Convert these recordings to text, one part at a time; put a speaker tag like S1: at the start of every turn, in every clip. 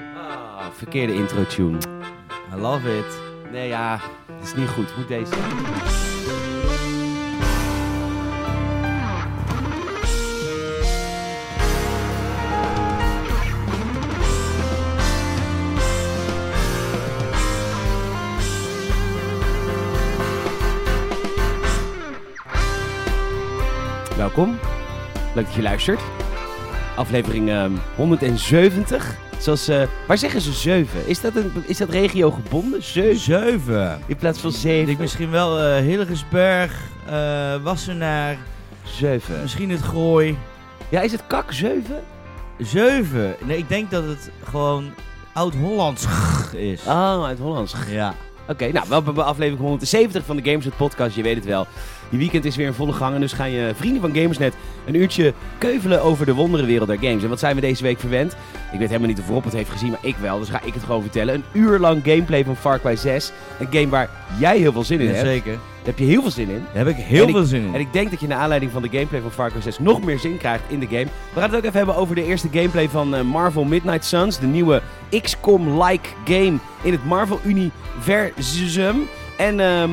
S1: Oh, verkeerde intro tune.
S2: I love it.
S1: Nee, ja, het is niet goed. Moet deze. Welkom. Leuk dat je luistert. Aflevering ehm, 170. Zoals, eh, waar zeggen ze 7? Is dat, een, is dat regio gebonden? 7
S2: Zeven.
S1: in plaats van
S2: Ik
S1: 7.
S2: denk misschien wel eh Hillegersberg, eh, Wassenaar,
S1: 7.
S2: misschien het Gooi.
S1: Ja, is het kak 7?
S2: Zeven. Nee, ik denk dat het gewoon Oud-Hollands is.
S1: Oh, uit Hollands. Oké,
S2: Ja.
S1: nou, wel bij aflevering 170 van de Gamersnet podcast. Je weet het wel. Die weekend is weer in volle gang en dus gaan je vrienden van Gamersnet een uurtje keuvelen over de wonderenwereld der games. En wat zijn we deze week verwend? Ik weet helemaal niet of Rob het heeft gezien, maar ik wel. Dus ga ik het gewoon vertellen. Een uur lang gameplay van Far Cry 6. Een game waar jij heel veel zin in hebt.
S2: Zeker.
S1: Daar heb je heel veel zin in.
S2: Daar heb ik heel
S1: En ik-
S2: veel zin in.
S1: En ik denk dat je naar aanleiding van de gameplay van Far Cry 6 nog meer zin krijgt in de game. We gaan het ook even hebben over de eerste gameplay van eh, Marvel Midnight Suns. De nieuwe XCOM-like game in het Marvel-universum. En, ehm,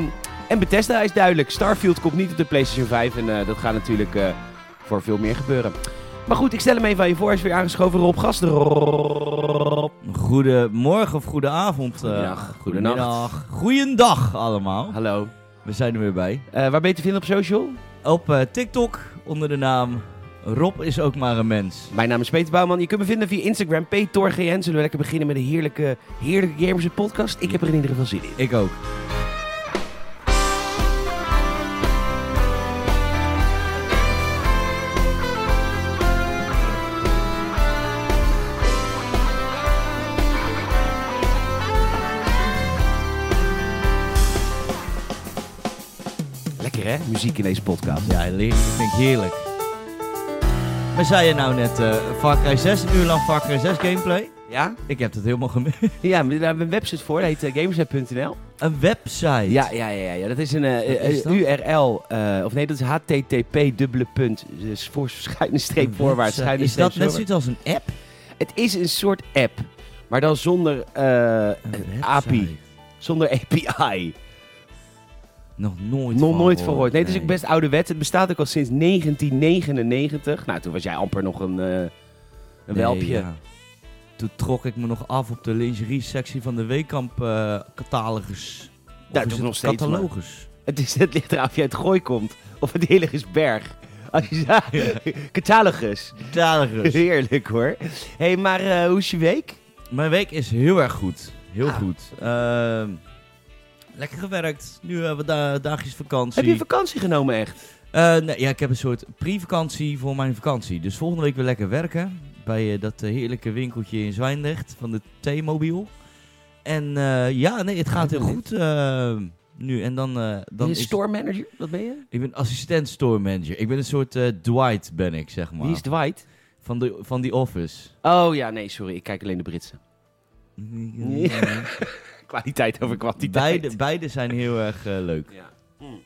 S1: en Bethesda is duidelijk. Starfield komt niet op de PlayStation 5. En eh, dat gaat natuurlijk eh, voor veel meer gebeuren. Maar goed, ik stel hem even aan je voor. Hij is weer aangeschoven. Rob Gaster. Rob.
S2: Goedemorgen of goedenavond. eh,
S1: Goedendag,
S2: goedemiddag. Goeiedag allemaal.
S1: Hallo.
S2: We zijn er weer bij.
S1: Eh, waar ben je te vinden op social?
S2: Op eh, TikTok onder de naam Rob is ook maar een mens.
S1: Mijn naam is Peter Bouwman. Je kunt me vinden via Instagram, PTORGN. Zullen we lekker beginnen met een heerlijke, heerlijke Gamers podcast? Ik heb er in ieder geval zin in.
S2: Ik ook.
S1: Lekker hè, muziek in deze podcast.
S2: Ja, heerlijk. vind ik heerlijk. Maar zei je nou net eh Far Cry 6, een uur lang Far Cry 6 gameplay?
S1: Ja?
S2: Ik heb dat helemaal gemist.
S1: Ja, maar daar hebben we een website voor. Dat heet eh, gamersnet.nl.
S2: Een website.
S1: Ja, ja, ja, ja. Dat is een eh,
S2: Wat is
S1: eh,
S2: dat?
S1: URL. eh, of nee, dat is http dubbele punt. Dus voor schuine
S2: Een
S1: streep voorwaarts. dus
S2: website.
S1: Schuine
S2: Is
S1: streep voorwaarts.
S2: dat net zoiets als een app?
S1: Het is een soort app. Maar dan zonder, eh,
S2: Een website.
S1: API. zonder API.
S2: Nog nooit
S1: Nog
S2: van
S1: nooit
S2: oh, gehoord,
S1: verhoord. Nee, het is ook best ouderwets. Het bestaat ook al sinds 1999. Nou, toen was jij amper nog een, eh, een
S2: Nee,
S1: welpje.
S2: ja. Toen trok ik me nog af op de lingerie-sectie van de Weekamp eh catalogus. Of
S1: dat
S2: is
S1: is
S2: het
S1: nog steeds,
S2: Catalogus.
S1: Het, is, het ligt eraan of je uit Gooi komt of het Heiligersberg. Als je ja. Catalogus.
S2: Catalogus.
S1: Heerlijk hoor. Hé, hey, maar eh, hoe is je week?
S2: Mijn week is heel erg goed. Heel
S1: Ah.
S2: goed. Ehm, lekker gewerkt. Nu hebben we da- dagjes vakantie.
S1: Heb je vakantie genomen echt?
S2: Eh, nee, ja, ik heb een soort pre-vakantie voor mijn vakantie. Dus volgende week weer lekker werken. Bij eh, dat eh, heerlijke winkeltje in Zwijndrecht van de T-mobiel. En eh, ja, nee, het gaat heel goed eh, nu. En dan, eh,
S1: Dan
S2: dan
S1: je is...
S2: is-
S1: store manager? Wat ben je?
S2: ik ben assistent store manager. Ik ben een soort eh, Dwight, ben ik, zeg maar.
S1: Wie is Dwight?
S2: van, de, van The Office.
S1: Oh ja, nee, sorry. Ik kijk alleen de Britse. Ja. Kwaliteit over kwantiteit.
S2: beide, beide zijn heel erg eh, leuk.
S1: Ja. Mm.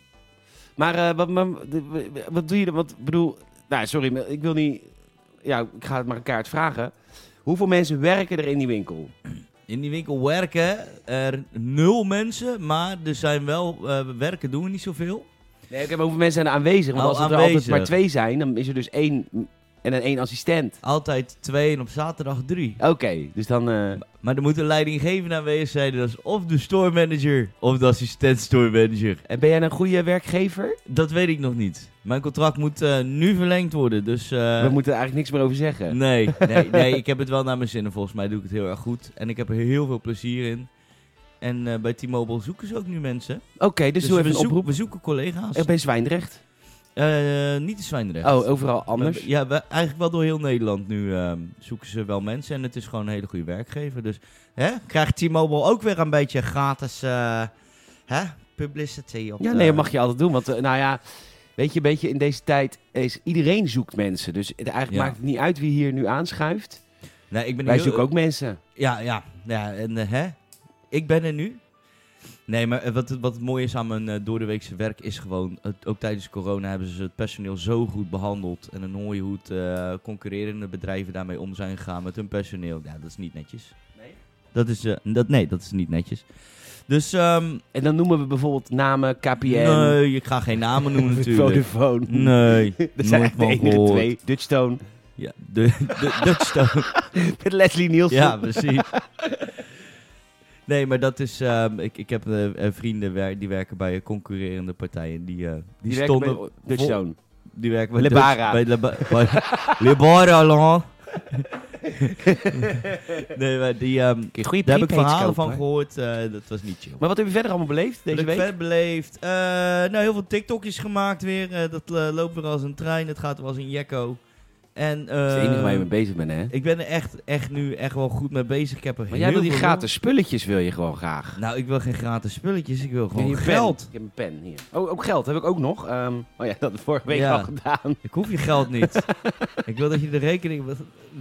S1: Maar eh, wat, maar- de- wat doe je dan? Wat bedoel, nou sorry, maar ik wil niet. Ja, ik ga het maar een kaart vragen. Hoeveel mensen werken er in die winkel?
S2: In die winkel werken er nul mensen, maar er zijn wel eh, werken doen we niet zoveel.
S1: Nee, oké, maar hoeveel mensen zijn er aanwezig? Want
S2: Oh,
S1: als het er
S2: aanwezig.
S1: altijd maar twee zijn, dan is er dus één en dan één assistent.
S2: Altijd twee en op zaterdag drie.
S1: Oké, dus dan. eh,
S2: Maar er moet een leidinggevende aanwezig zijn. Dat is of de store manager of de assistent store manager.
S1: en ben jij een goede werkgever?
S2: Dat weet ik nog niet. Mijn contract moet eh, nu verlengd worden. Dus eh, Mm.
S1: We moeten er eigenlijk niks meer over zeggen.
S2: nee, nee, nee, ik heb het wel naar mijn zin. En volgens mij doe ik het heel erg goed. En ik heb er heel veel plezier in. En eh, bij T-Mobile zoeken ze ook nu mensen.
S1: Oké, dus, doe even
S2: we,
S1: een
S2: zoeken-
S1: oproep.
S2: we zoeken collega's.
S1: Ik ben Zwijndrecht.
S2: Eh, niet in Zwijndrecht.
S1: Oh, overal anders.
S2: We- ja, we, eigenlijk wel door heel Nederland nu ehm, zoeken ze wel mensen. En het is gewoon een hele goede werkgever. Dus hè, krijgt T-Mobile ook weer een beetje gratis eh, hè, publicity op
S1: Ja,
S2: de-
S1: nee, dat mag je altijd doen. Want, eh, nou ja, weet je, een beetje in deze tijd is iedereen zoekt mensen. Dus het, eigenlijk
S2: Ja.
S1: maakt het niet uit wie hier nu aanschuift.
S2: Nee, ik ben
S1: Wij
S2: heel-
S1: zoeken ook mensen.
S2: Ja, ja. ja en eh, hè? Ik ben er nu. Nee, maar eh, wat, het- wat het mooie is aan mijn eh, doordeweekse werk is gewoon... het- ook tijdens corona hebben ze het personeel zo goed behandeld. En dan hoor je hoe het eh, concurrerende bedrijven daarmee om zijn gegaan met hun personeel. Ja, dat is niet netjes.
S1: Nee?
S2: Dat is, eh, dat, nee, dat is niet netjes. Dus, ehm
S1: En dan noemen we bijvoorbeeld namen, KPN,
S2: nee, ik ga geen namen noemen natuurlijk.
S1: Vodafone.
S2: Nee,
S1: Dat zijn
S2: nooit
S1: echt de
S2: van
S1: enige
S2: gehoord.
S1: twee. Dutchstone
S2: Ja, de, de, Dutchstone.
S1: met Leslie Nielsen.
S2: ja, precies. Nee, maar dat is... ehm, ik, ik heb eh, eh, vrienden wer- die werken bij eh, concurrerende partijen. Die, eh, die,
S1: die werken
S2: stonden...
S1: bij Dutchstone.
S2: Die werken bij
S1: Lebara.
S2: Dutch- Bij Leba- bij Lebara, Laurent. nee, maar die, ehm,
S1: Kun je goede
S2: daar heb ik
S1: prepaid
S2: verhalen
S1: kopen.
S2: van gehoord. eh, dat was niet chill.
S1: Maar wat heb je verder allemaal beleefd
S2: Wat
S1: deze
S2: ik
S1: week?
S2: verder beleefd. Eh, nou, heel veel TikTokjes gemaakt weer. Eh, dat eh, loopt weer als een trein. Het gaat weer als een jekko. En,
S1: dat is
S2: eh,
S1: het enige waar je mee bezig bent, hè?
S2: Ik ben er echt, echt nu echt wel goed mee bezig. Ik heb er
S1: Maar
S2: heel
S1: jij wil die
S2: veel
S1: gratis spulletjes wil je gewoon graag.
S2: door. Nou, ik wil geen gratis spulletjes. Ik wil
S1: Ik
S2: gewoon
S1: heb hier
S2: geld.
S1: Pen. Ik heb een pen hier. Oh, ook geld heb ik ook nog. Ehm, oh ja, dat had ik vorige week
S2: Ja.
S1: al gedaan.
S2: Ik hoef je geld niet. ik wil dat je de rekening...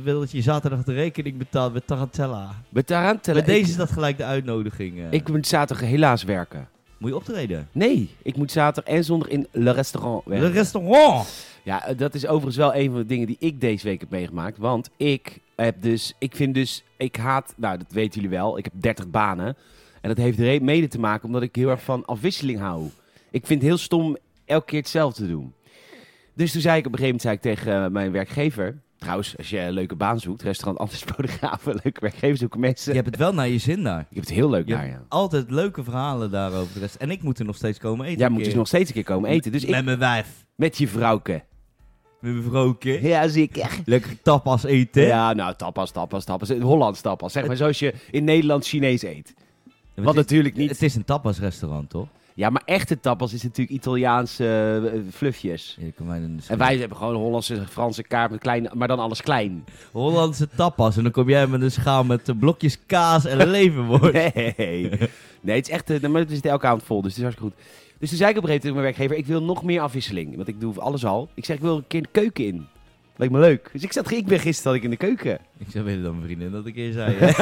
S2: wil dat je zaterdag de rekening betaalt met Tarantella.
S1: Met Tarantella.
S2: Met deze
S1: Ik,
S2: is dat gelijk de uitnodiging. eh.
S1: ik moet zaterdag helaas werken.
S2: Moet je optreden?
S1: Nee, ik moet zaterdag en zondag in Le Restaurant
S2: De
S1: werken.
S2: restaurant!
S1: Ja, eh, dat is overigens wel een van de dingen die ik deze week heb meegemaakt. Want ik heb dus, ik vind dus, ik haat, nou dat weten jullie wel, ik heb 30 banen. En dat heeft re- mede te maken omdat ik heel erg van afwisseling hou. Ik vind het heel stom elke keer hetzelfde te doen. Dus toen zei ik op een gegeven moment zei ik tegen eh, mijn werkgever. Trouwens, als je een leuke baan zoekt, restaurant Anders Fotografen, leuke werkgever zoeken
S2: Je
S1: mensen.
S2: hebt het wel naar je zin daar.
S1: Ik heb het heel leuk
S2: Je
S1: daar,
S2: hebt
S1: ja.
S2: altijd leuke verhalen daarover. de rest. En ik moet er nog steeds komen eten.
S1: Jij
S2: een
S1: moet
S2: keer.
S1: dus nog steeds een keer komen eten. Dus ik
S2: Met mijn wijf.
S1: met je vrouwke.
S2: Met mijn vrouwtje.
S1: Ja, zeker.
S2: Lekker tapas eten.
S1: Ja, nou, tapas, tapas, tapas. Hollands tapas. Zeg maar zoals je in Nederland Chinees eet.
S2: Maar
S1: Wat
S2: het,
S1: natuurlijk
S2: is,
S1: niet...
S2: het is een tapasrestaurant, toch?
S1: Ja, maar echte tapas is natuurlijk Italiaanse eh, flufjes.
S2: Je kan mij dan
S1: En wij hebben gewoon Hollandse, Franse kaart met klein, maar dan alles klein.
S2: Hollandse tapas. En dan kom jij met een schaal met eh, blokjes kaas en levenworst.
S1: Nee, nee het is echt... eh, Maar het is elke avond vol, dus het is hartstikke goed. Dus toen zei ik op een gegeven moment tegen mijn werkgever... Ik wil nog meer afwisseling, want ik doe alles al. Ik zeg, ik wil een keer de keuken in. Lijkt me leuk. Dus ik, zat, ik ben gisteren zat ik in de keuken.
S2: Ik zou weten dan mijn vriendin dat ik eerst zei. hè?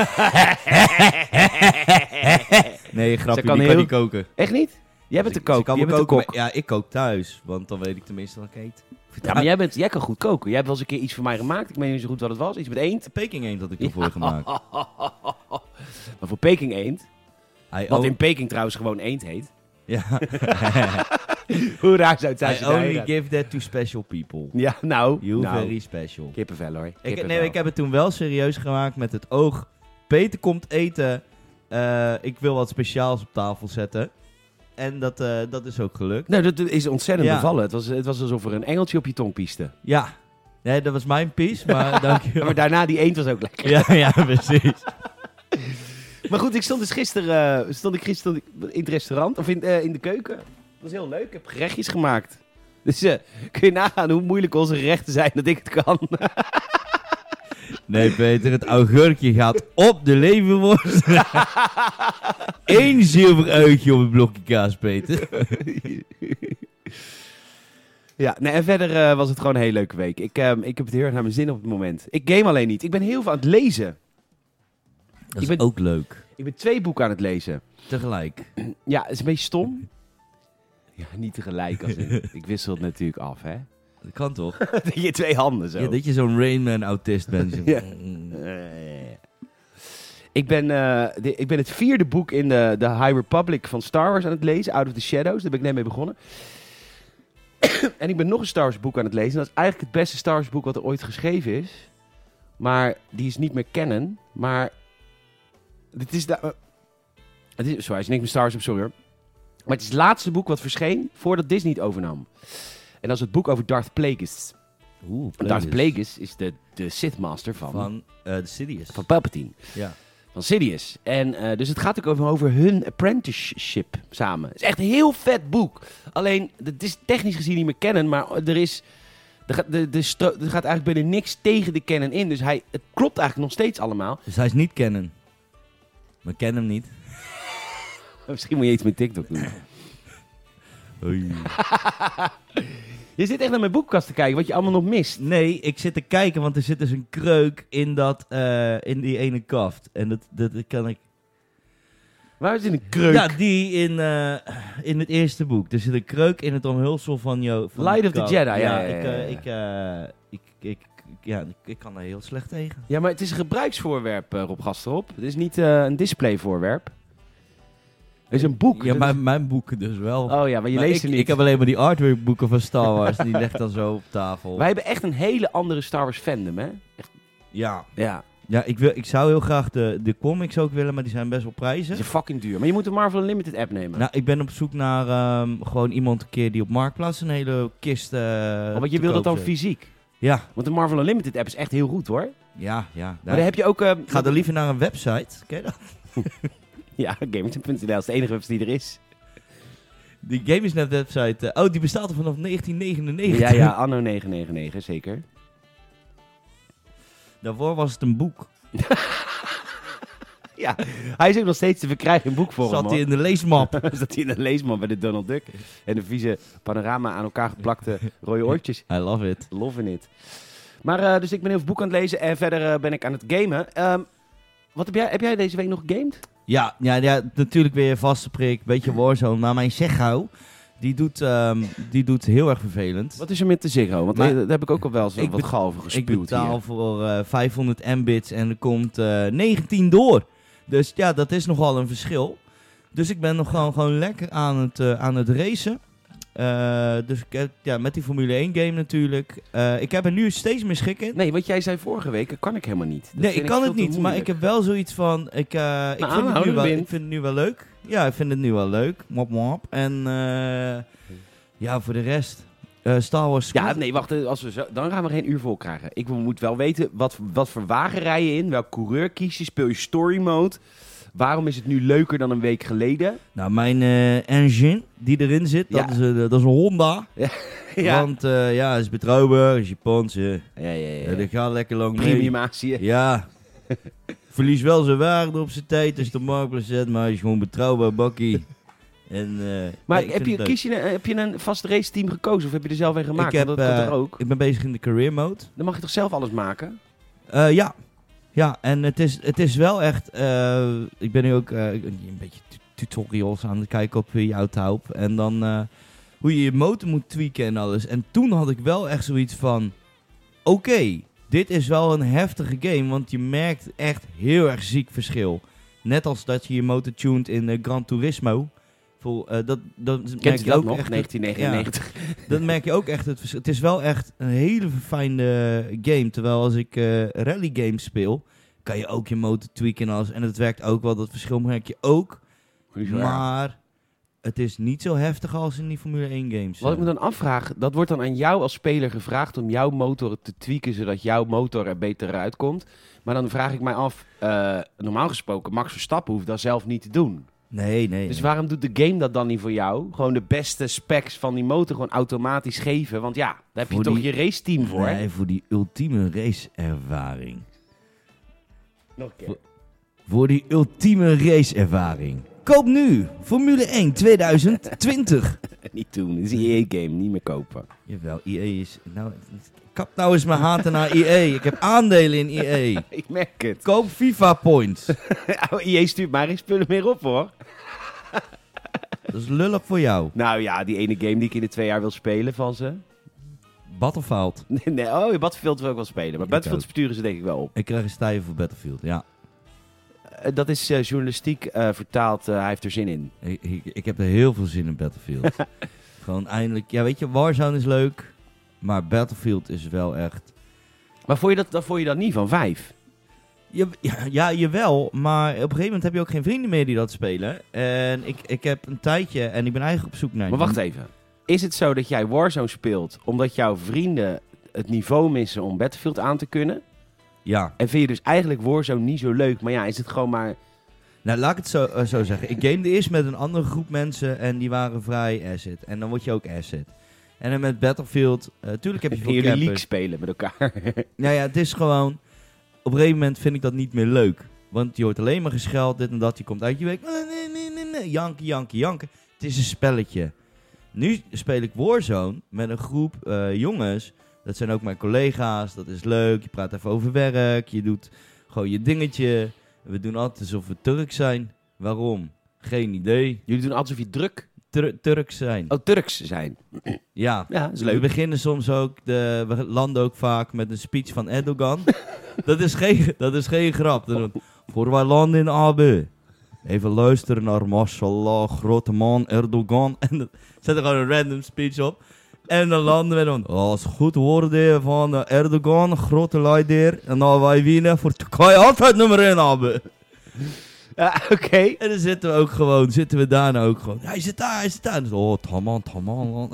S2: nee, grapje.
S1: Ze kan
S2: die
S1: heel-
S2: kan niet koken.
S1: Echt niet? Jij bent
S2: Ze-
S1: de kook,
S2: ze dus kan
S1: jij
S2: wel
S1: bent de
S2: koken,
S1: kok.
S2: maar- Ja, ik kook thuis. Want dan weet ik tenminste dat ik eet.
S1: Ja, maar jij, bent, jij kan goed koken. Jij hebt wel eens een keer iets voor mij gemaakt. Ik weet niet zo goed wat het was. Iets met eend.
S2: Peking eend had ik ervoor gemaakt.
S1: Maar voor Peking eend.
S2: Hij
S1: Wat
S2: own-
S1: in Peking trouwens gewoon eend heet.
S2: Ja.
S1: Hoe raar zou het zijn als
S2: I
S1: je daar-
S2: only give that to special people.
S1: Ja, nou.
S2: You
S1: nou
S2: very special.
S1: kippenvel hoor.
S2: Ik,
S1: Kippenvel.
S2: nee, ik heb het toen wel serieus gemaakt met het oog. Peter komt eten. Eh, ik wil wat speciaals op tafel zetten. En dat, eh, dat is ook gelukt.
S1: Nou, dat is ontzettend
S2: Ja.
S1: bevallen. Het was, het was alsof er een engeltje op je tong pieste.
S2: Ja. Nee, dat was mijn piece, maar dankjewel.
S1: Maar daarna, die eend was ook lekker.
S2: Ja, ja, precies.
S1: Maar goed, ik stond dus gisteren, eh, stond ik gisteren in het restaurant, of in, eh, in de keuken. Dat was heel leuk, ik heb gerechtjes gemaakt. Dus eh, kun je nagaan hoe moeilijk onze gerechten zijn dat ik het kan.
S2: Nee, Peter, het augurkje gaat op de leverworst. Eén zilver uitje op het blokje kaas, Peter.
S1: Ja, nee, en verder eh, was het gewoon een hele leuke week. Ik, ehm, ik heb het heel erg naar mijn zin op het moment. Ik game alleen niet. Ik ben heel veel aan het lezen.
S2: Dat
S1: Ik
S2: is
S1: ben-
S2: ook leuk.
S1: Ik ben twee boeken aan het lezen.
S2: Tegelijk.
S1: Ja, het is een beetje stom. Ja, niet tegelijk. Als in- ik wissel het natuurlijk af, hè.
S2: Dat kan toch?
S1: je twee handen zo.
S2: Ja, dat je zo'n Rainman-autist bent. Zo-
S1: Ja.
S2: Mm.
S1: Eh. ik, ben, eh, de- ik ben het vierde boek in de, de High Republic van Star Wars aan het lezen. Out of the Shadows. Daar ben ik net mee begonnen. en ik ben nog een Star Wars boek aan het lezen. Dat is eigenlijk het beste Star Wars boek wat er ooit geschreven is. Maar die is niet meer kennen. Maar dit is... da- eh, het is sorry, het is niks met Star Wars, I'm sorry hoor. Maar het is het laatste boek wat verscheen voordat Disney het overnam. En dat is het boek over Darth Plagueis.
S2: Oeh,
S1: Darth Plagueis is de, de Sith Master van, van,
S2: Van eh The Sidious.
S1: van Palpatine
S2: Ja.
S1: van Sidious. En eh, dus het gaat ook over, over hun apprenticeship samen. Het is echt een heel vet boek. Alleen, het is technisch gezien niet meer kennen, maar er is... Er gaat, de, de stro- er gaat eigenlijk binnen niks tegen de kennen in. Dus hij, het klopt eigenlijk nog steeds allemaal.
S2: Dus hij is niet kennen. Maar ken hem niet.
S1: Misschien moet je iets met TikTok doen. Je zit echt naar mijn boekkast te kijken, wat je allemaal nog mist.
S2: Nee, ik zit te kijken, want er zit dus een kreuk in, dat, eh, in die ene kaft. En dat, dat, dat kan ik...
S1: Waar is in een kreuk?
S2: Ja, die in, eh, in het eerste boek. Er zit een kreuk in het omhulsel van jou. van
S1: Light
S2: die
S1: of the
S2: kaft.
S1: Jedi, ja, ja,
S2: ik,
S1: ja,
S2: eh,
S1: ja.
S2: ik, eh, ik, ik ja, ik, ik kan daar heel slecht tegen.
S1: Ja, maar het is een gebruiksvoorwerp, eh, Rob Gasterop. Het is niet eh, een displayvoorwerp. Het is een boek.
S2: Ja,
S1: Dat
S2: mijn, mijn boeken dus wel.
S1: is- Oh ja, maar je
S2: Maar
S1: leest
S2: ik,
S1: er niet.
S2: Ik heb alleen maar die artworkboeken van Star Wars. die legt dan zo op tafel.
S1: Wij hebben echt een hele andere Star Wars fandom, hè? Echt,
S2: Ja,
S1: ja,
S2: ja ik, wil, ik zou heel graag de, de comics ook willen, maar die zijn best wel
S1: het
S2: prijzig.
S1: is fucking duur. Maar je moet de Marvel Unlimited app nemen.
S2: Nou, ik ben op zoek naar ehm, gewoon iemand een keer die op Marktplaats een hele kist... eh
S1: Oh, want je
S2: te
S1: wil dat
S2: koop
S1: dan
S2: zet.
S1: fysiek.
S2: Ja,
S1: Want de Marvel Unlimited app is echt heel goed, hoor.
S2: ja, ja.
S1: Maar dan heb je ook... eh,
S2: Nou, Ik ga dan liever naar een website. Ken je dat?
S1: Ja, gamertip.nl is de enige website die er is.
S2: Die Game is Net website. eh, oh, die bestaat al vanaf 1999.
S1: Ja, ja, anno 999, zeker.
S2: Daarvoor was het een boek.
S1: Ja, hij is ook nog steeds te verkrijgen in boekvorm.
S2: Zat
S1: hoor.
S2: hij in de leesmap.
S1: Zat hij in een leesman bij de Donald Duck. En de vieze panorama aan elkaar geplakte rode oortjes.
S2: I love it.
S1: Loving it. Maar eh, dus ik ben heel veel boek aan het lezen en verder eh, ben ik aan het gamen. Ehm, wat heb jij, heb jij deze week nog gegamed?
S2: Ja, ja, ja, natuurlijk weer vaste prik. Beetje Warzone. Maar mijn Zeggo, die doet, ehm, die doet heel erg vervelend.
S1: Wat is er met de Ziggo? Want
S2: Maar-
S1: eh, daar heb ik ook al wel eens
S2: Ik
S1: wat
S2: bet-
S1: gaal over
S2: ik
S1: gespuwd
S2: betaal
S1: hier.
S2: voor eh 500 mbits en er komt eh, 19 door. Dus ja, dat is nogal een verschil. Dus ik ben nog gewoon, gewoon lekker aan het, eh, aan het racen. Eh, dus ik heb- ja, met die Formule 1 game natuurlijk. Eh, ik heb er nu steeds meer schik in.
S1: Nee, wat jij zei vorige week, dat kan ik helemaal niet. Dat
S2: Nee,
S1: vind
S2: ik kan
S1: veel
S2: het
S1: te
S2: niet, maar ik
S1: moeilijk.
S2: heb wel zoiets van... Ik, eh,
S1: Nou,
S2: ik, vind, het nu
S1: aanhouden,
S2: wel,
S1: Wim.
S2: ik vind het nu wel leuk. Ja, ik vind het nu wel leuk. Mop, mop. En eh, ja, voor de rest... eh, Star Wars
S1: Ja, nee, wacht. eh, Als we zo, dan gaan we geen uur vol krijgen. Ik moet wel weten, wat, wat voor wagen rij je in? Welk coureur kies je? Speel je story mode? Waarom is het nu leuker dan een week geleden?
S2: Nou, mijn eh, engine die erin zit, dat,
S1: Ja.
S2: is, een- dat is een Honda.
S1: Ja,
S2: Want eh, ja, is betrouwbaar, is Japans. eh.
S1: ja, ja. ja,
S2: Eh, dat gaat lekker lang mee.
S1: Premium Azië.
S2: Ja. Verlies wel zijn waarde op zijn tijd als de marktplaats zet, maar hij is gewoon betrouwbaar bakkie. En, eh,
S1: Maar
S2: nee, ik
S1: heb,
S2: vind
S1: je,
S2: het leuk.
S1: kies je een, heb je een vast race team gekozen of heb je er zelf een gemaakt?
S2: Ik heb,
S1: Want dat kan
S2: eh,
S1: toch ook?
S2: Ik ben bezig in de career mode.
S1: Dan mag je toch zelf alles maken?
S2: Eh, ja. Ja, en het is, het is wel echt... eh, ik ben nu ook eh, een beetje tu- tutorials aan het kijken op eh, je autohoop. En dan eh, hoe je je motor moet tweaken en alles. En toen had ik wel echt zoiets van... Oké, dit is wel een heftige game. Want je merkt echt heel erg ziek verschil. Net als dat je je motor tuned in eh, Gran Turismo. Voor, eh, dat, dat merk
S1: Kent
S2: je
S1: je dat
S2: ook
S1: nog?
S2: echt
S1: 1999.
S2: dat merk je ook echt het verschil. Het is wel echt een hele verfijnde game. Terwijl als ik eh, rally games speel, kan je ook je motor tweaken en alles. En het werkt ook wel. Dat verschil merk je ook. Maar het is niet zo heftig als in die Formule 1 games.
S1: Wat ik me dan afvraag, dat wordt dan aan jou als speler gevraagd om jouw motor te tweaken zodat jouw motor er beter uitkomt. Maar dan vraag ik mij af, eh, normaal gesproken, Max Verstappen hoeft dat zelf niet te doen.
S2: Nee, nee.
S1: Dus
S2: nee.
S1: waarom doet de game dat dan niet voor jou? Gewoon de beste specs van die motor gewoon automatisch geven. Want ja, daar heb je
S2: Voor
S1: toch
S2: die-
S1: je race team voor. hè?
S2: Nee, voor die ultieme raceervaring.
S1: Nog een keer.
S2: Voor die ultieme raceervaring. Koop nu Formule 1 2020.
S1: Niet doen, het is een EA-game, niet meer kopen.
S2: Jawel, EA is... Nou, kap nou eens mijn haten naar EA. Ik heb aandelen in E EA.
S1: Ik merk het.
S2: Koop FIFA points.
S1: Oh, IE stuurt maar geen spullen meer op hoor.
S2: Dat is lullig voor jou.
S1: Nou ja, die ene game die ik in de twee jaar wil spelen van ze.
S2: Battlefield.
S1: Nee, nee, oh, Battlefield wil ik wel spelen. Maar
S2: Ik
S1: Battlefield
S2: ook.
S1: sturen ze denk ik wel op.
S2: Ik krijg een stijf voor Battlefield, ja.
S1: Eh, dat is eh, journalistiek eh, vertaald. eh, hij heeft er zin in.
S2: Ik, ik, ik heb er heel veel zin in Battlefield. Gewoon eindelijk... Ja, weet je, Warzone is leuk. Maar Battlefield is wel echt...
S1: Maar vond je dat, dat, vond je dat niet van vijf?
S2: Je, ja, ja, jawel. Maar op een gegeven moment heb je ook geen vrienden meer die dat spelen. En ik, ik heb een tijdje... En ik ben eigenlijk op zoek naar...
S1: Maar wacht even. Is het zo dat jij Warzone speelt omdat jouw vrienden het niveau missen om Battlefield aan te kunnen?
S2: Ja.
S1: En vind je dus eigenlijk Warzone niet zo leuk? Maar ja, is het gewoon maar...
S2: Nou, laat ik het zo, eh, zo zeggen. Ik gamede eerst met een andere groep mensen en die waren vrij asset. En dan word je ook asset. En dan met Battlefield... eh, tuurlijk heb je
S1: In
S2: veel
S1: jullie
S2: campers.
S1: league spelen met elkaar.
S2: Nou ja, het is gewoon... Op een gegeven moment vind ik dat niet meer leuk. Want je hoort alleen maar gescheld, dit en dat. Je komt uit je week. Nee, nee, nee, nee, nee. Janken, janken, janken. Het is een spelletje. Nu speel ik Warzone met een groep eh, jongens. Dat zijn ook mijn collega's. Dat is leuk. Je praat even over werk. Je doet gewoon je dingetje. We doen altijd alsof we Turk zijn. Waarom? Geen idee.
S1: jullie doen alsof je druk
S2: Tur- Turks zijn.
S1: Oh, Turks zijn.
S2: Ja.
S1: Ja, dat is
S2: Dus We
S1: leuk.
S2: beginnen soms ook, de, we landen ook vaak met een speech van Erdogan. dat, is geen, dat is geen grap. Dan doen we, Voor wij landen in AB. Even luisteren naar mashallah, grote man Erdogan. En dan zet er gewoon een random speech op. En dan landen we dan. Oh, is goed woorden van eh, Erdogan, grote leider. En dan wij winnen voor Turkije altijd nummer 1 AB.
S1: Ja, Ah, oké.
S2: En dan zitten we ook gewoon, zitten we daarna ook gewoon. Hij zit daar, hij zit daar. En dan, oh, taman, taman. man.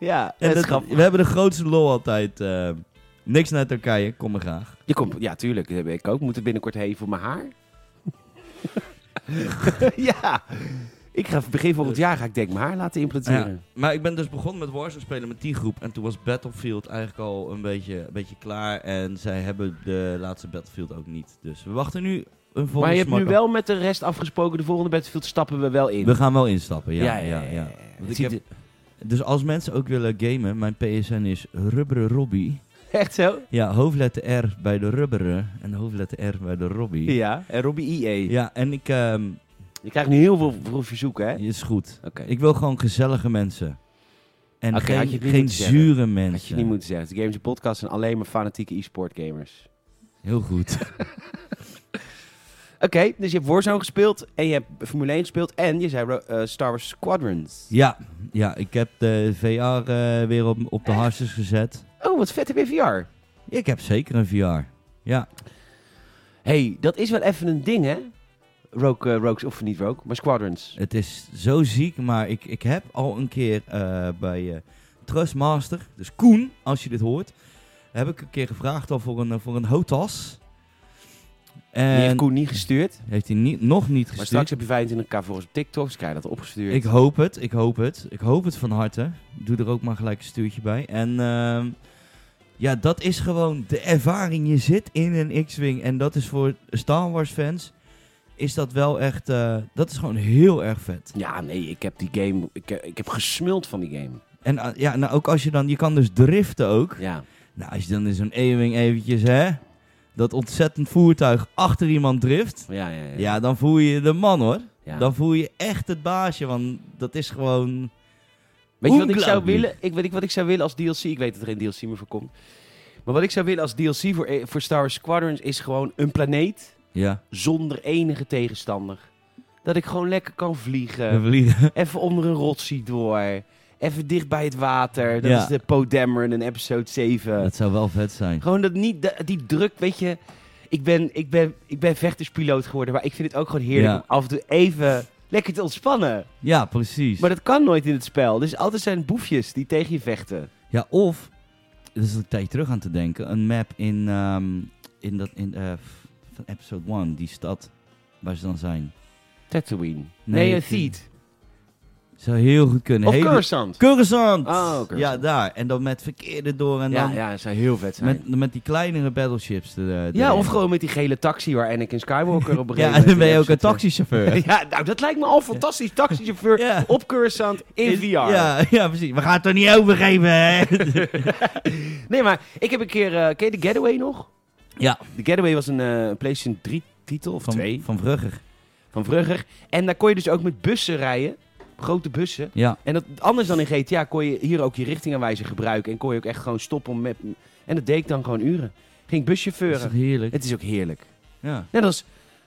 S1: Ja, dat
S2: En
S1: is
S2: dat-
S1: grappig.
S2: we hebben de grootste lol altijd. eh, niks naar Turkije, kom maar graag.
S1: Je komt, ja, tuurlijk. Dat weet ik ook. Moet het binnenkort heen voor mijn haar? ja. Ik ga begin volgend jaar ga ik denk ik mijn haar laten
S2: Ja.
S1: implanteren.
S2: Maar ik ben dus begonnen met Warzone spelen met die groep. En toen was Battlefield eigenlijk al een beetje, een beetje klaar. En zij hebben de laatste Battlefield ook niet. Dus we wachten nu een volgende
S1: maar je hebt nu
S2: smak af.
S1: wel met de rest afgesproken. De volgende Battlefield stappen we wel in.
S2: We gaan wel instappen, ja. ja, ja,
S1: Het
S2: Want ik
S1: ziet
S2: heb, dus als mensen ook willen gamen, mijn PSN is Rubberen Robbie.
S1: er- Echt zo?
S2: Ja, hoofdletter R bij de rubberen en hoofdletter R bij de Robbie. Ja,
S1: Ja. En Robbie E. EA.
S2: en ik... ehm,
S1: Je krijgt nu heel veel, veel verzoeken, hè?
S2: is goed.
S1: Oké.
S2: Ik wil gewoon gezellige mensen. En
S1: Oké, had je
S2: geen,
S1: het niet
S2: geen
S1: moeten zeggen.
S2: zure mensen.
S1: Had je niet moeten zeggen. De Games en Podcast zijn alleen maar fanatieke e-sport gamers.
S2: Heel goed.
S1: Oké, dus je hebt Warzone gespeeld en je hebt Formule 1 gespeeld en je zei eh, Star Wars Squadrons.
S2: ja, ja, ik heb de VR eh, weer op, op de harses gezet.
S1: Oh, wat vet heb je VR.
S2: Ik heb zeker een VR. Ja,
S1: hey, dat is wel even een ding, hè? Rook, eh, Rooks, of niet Rook, maar Squadrons.
S2: het is zo ziek, maar ik, ik heb al een keer eh, bij eh, Trustmaster, dus Koen, als je dit hoort, heb ik een keer gevraagd al voor een, eh, voor een hotas.
S1: Die heeft
S2: En
S1: Koen niet gestuurd,
S2: heeft hij niet, nog niet
S1: maar
S2: gestuurd.
S1: straks heb je 25k volgens op TikTok, dus krijg je dat opgestuurd.
S2: Ik hoop het, ik hoop het. Ik hoop het van harte. Doe er ook maar gelijk een stuurtje bij. En ehm, ja, dat is gewoon de ervaring. Je zit in een X-Wing en dat is voor Star Wars fans, is dat wel echt, eh, dat is gewoon heel erg vet.
S1: Ja, nee, ik heb die game, ik, heb- ik heb gesmuld van die game.
S2: En ah, ja, nou ook als je dan, je kan dus driften ook.
S1: Ja,
S2: Nou, als je dan in zo'n E-Wing eventjes, hè, dat ontzettend voertuig achter iemand drift.
S1: ja, ja. ja.
S2: Ja, dan voel je de man hoor.
S1: Ja.
S2: Dan voel je echt het baasje, want dat is gewoon...
S1: Weet je wat ik zou
S2: Ongelooflijk.
S1: willen? Ik weet ik wat ik zou willen als DLC. Ik weet dat er geen DLC meer voor komt. Maar wat ik zou willen als DLC voor, eh, voor Star Wars Squadrons is gewoon een planeet
S2: Ja,
S1: zonder enige tegenstander. Dat ik gewoon lekker kan
S2: we
S1: vliegen.
S2: verliezen.
S1: Even onder een rotsie door. Even dicht bij het water. Dat
S2: Ja.
S1: is de Poe Dameron in episode 7.
S2: Dat eh, zou wel vet zijn.
S1: Gewoon dat niet, de- die druk, weet je. Ik ben, ik, ben, ik ben vechterspiloot geworden, maar ik vind het ook gewoon heerlijk
S2: Ja.
S1: om af en toe even lekker te ontspannen.
S2: Ja, precies.
S1: Maar dat kan nooit in het spel. Dus altijd zijn boefjes die tegen je vechten.
S2: Ja, of, dat is een tijdje terug aan te denken, een map in, ehm, in, dat, in eh, f- van episode 1, die stad waar ze dan zijn.
S1: Tatooine. Nee,
S2: Nee,
S1: een
S2: het is-
S1: Thiet.
S2: Zou heel goed kunnen.
S1: Of
S2: Hele-
S1: Coruscant.
S2: Coruscant!
S1: Oh, Coruscant.
S2: Ja, daar. En dan met verkeerde door en
S1: Ja,
S2: dan
S1: ja, dat zou heel vet zijn.
S2: Met, met die kleinere battleships. er, eh,
S1: ja,
S2: erin.
S1: of gewoon met die gele taxi waar Anakin Skywalker op een
S2: Ja,
S1: gegeven
S2: en dan
S1: moment
S2: ben je
S1: in
S2: ook een
S1: episode
S2: taxichauffeur.
S1: twee- Ja, nou, dat lijkt me al fantastisch. Taxichauffeur
S2: Ja.
S1: op Coruscant in VR.
S2: Ja, ja, precies. We gaan het er niet overgeven, hè?
S1: Nee, maar ik heb een keer... eh, ken je The Getaway nog?
S2: ja.
S1: The Getaway was een eh, PlayStation 3 titel, of
S2: Van,
S1: twee,
S2: van Vrugger.
S1: van Vrugger. En daar kon je dus ook met bussen rijden. Grote bussen.
S2: Ja.
S1: En dat, anders dan in GTA kon je hier ook je richtingaanwijzer gebruiken. En kon je ook echt gewoon stoppen om met... En dat deed ik dan gewoon uren. Ging
S2: Dat is toch
S1: buschauffeuren.
S2: heerlijk?
S1: Het is ook heerlijk.
S2: Ja.
S1: Net als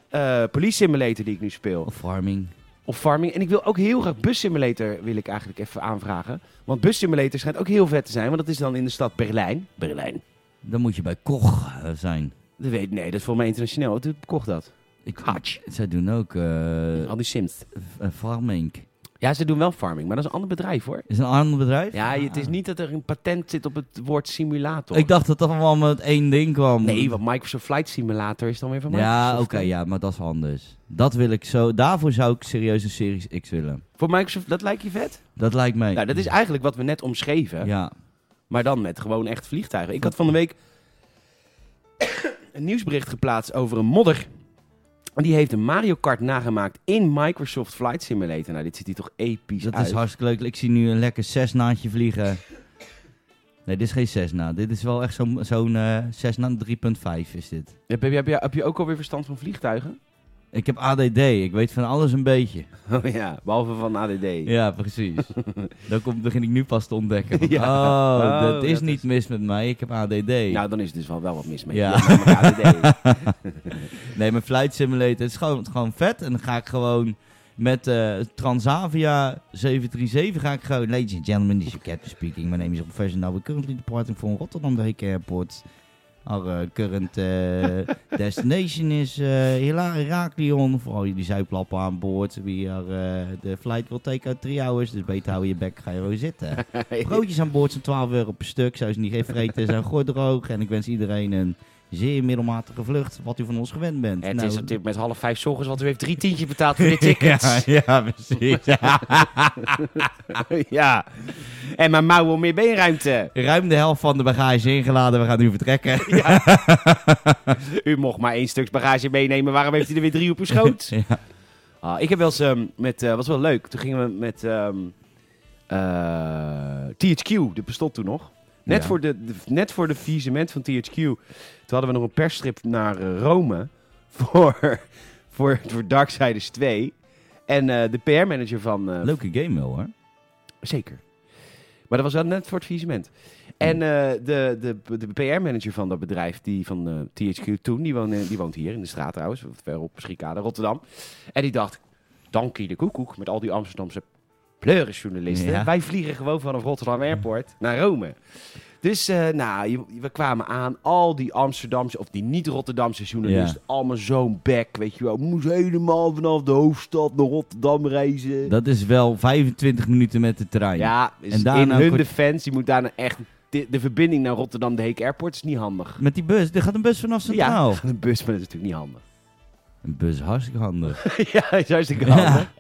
S1: eh, Police Simulator die ik nu speel.
S2: Of farming.
S1: Of Farming. En ik wil ook heel graag Bus Simulator wil ik eigenlijk even aanvragen. Want Bus Simulator schijnt ook heel vet te zijn. Want dat is dan in de stad Berlijn. Berlijn.
S2: Dan moet je bij Koch eh, zijn.
S1: Dat weet, nee, dat is voor mij internationaal. Wat kocht dat?
S2: Ik,
S1: Hatch.
S2: Zij doen ook eh
S1: Al die Sims.
S2: eh, farming.
S1: Ja, ze doen wel Farming. Maar dat is een ander bedrijf hoor.
S2: Is het een ander bedrijf?
S1: Ja, je- het is niet dat er een patent zit op het woord simulator.
S2: Ik dacht dat dat allemaal met één ding kwam.
S1: Nee, want Microsoft Flight Simulator is dan weer van Microsoft.
S2: Ja, oké, ja, maar dat is anders. Dat wil ik zo. Daarvoor zou ik serieus een Series X willen.
S1: Voor Microsoft, dat lijkt je vet?
S2: Dat lijkt mij.
S1: Nou, dat is eigenlijk wat we net omschreven.
S2: Ja.
S1: Maar dan met gewoon echt vliegtuigen. Ik had van de week een nieuwsbericht geplaatst over een modder. En die heeft een Mario Kart nagemaakt in Microsoft Flight Simulator. Nou, dit ziet hier toch episch
S2: Dat
S1: uit.
S2: is hartstikke leuk. Ik zie nu een lekker Cessnaatje vliegen. Nee, dit is geen Cessna. Dit is wel echt zo'n zo'n eh Cessna 3.5 is dit.
S1: Heb, je, heb, je, heb je ook alweer verstand van vliegtuigen?
S2: Eh, Ik heb ADD, ik weet van alles een beetje.
S1: Oh ja, behalve van ADD.
S2: Ja, precies. Dan kom, begin ik nu pas te ontdekken. van,
S1: Ja.
S2: Oh,
S1: Oh,
S2: dat is
S1: dat
S2: niet
S1: is-
S2: mis met mij, ik heb ADD.
S1: Nou, dan is het dus wel, wel wat mis mee.
S2: Ja.
S1: Ja. maar ADD.
S2: Nee, mijn flight simulator het is gewoon, het is gewoon vet. En dan ga ik gewoon met eh, Transavia 737 ga ik gewoon... Ladies and gentlemen, this is your captain speaking. My name is professional. We're currently departing from Rotterdam Drake Airport. Our eh, current eh, destination is eh Hila- Heraklion. Voor al jullie zuiplappen aan boord. We are, eh, the flight will take out three hours. Dus beter hou je bek, ga je gewoon zitten. Broodjes aan boord zijn 12 euro per stuk. Zou ze niet gevreten, zijn gordroog. En ik wens iedereen een zeer middelmatige vlucht, wat u van ons gewend bent.
S3: Het
S2: Nou,
S3: is op dit moment half vijf 's ochtends, want u heeft drie tientjes betaald voor dit ticket.
S2: ja, ja, precies.
S1: ja. En mijn mouwen meer beenruimte.
S2: Ruim de helft van de bagage ingeladen, we gaan nu vertrekken.
S1: U mocht maar één stuk bagage meenemen. Waarom heeft u er weer drie op uw schoot?
S2: Ja.
S1: Ah, ik heb wel eens ehm, met... eh was wel leuk. Toen gingen we met ehm, eh, THQ. Dat bestond toen nog. Net,
S2: Ja.
S1: voor de, de- net voor de faillissement van THQ. Toen hadden we nog een persstrip naar eh, Rome. Voor, voor, voor Darksiders 2. En eh, de PR-manager van, eh,
S2: Leuke game wel hoor.
S1: Zeker. Maar dat was wel net voor het faillissement. En
S2: Hmm.
S1: eh, de, de, de PR-manager van dat bedrijf, die van eh, THQ toen, die woont, die woont hier in de straat trouwens, ver op Schikade, Rotterdam. En die dacht, dankie de koekoek met al die Amsterdamse pleurisjournalisten.
S2: Ja.
S1: Wij vliegen gewoon vanaf Rotterdam Airport naar Rome. Dus eh, nou, je- we kwamen aan, al die Amsterdamse, of die niet-Rotterdamse journalisten, allemaal zo'n bek, weet je wel. Moest helemaal vanaf de hoofdstad naar Rotterdam reizen.
S2: Dat is wel 25 minuten met de trein.
S1: Ja, is
S2: En daarna
S1: in hun
S2: kort-
S1: defense, je moet daarna echt... De, de verbinding naar Rotterdam, de Heek Airport, is niet handig.
S2: Met die bus, er gaat een bus vanaf Centraal.
S1: Ja, een bus, maar dat is natuurlijk niet handig.
S2: Een bus, hartstikke handig.
S1: ja, dat is hartstikke
S2: Ja.
S1: handig.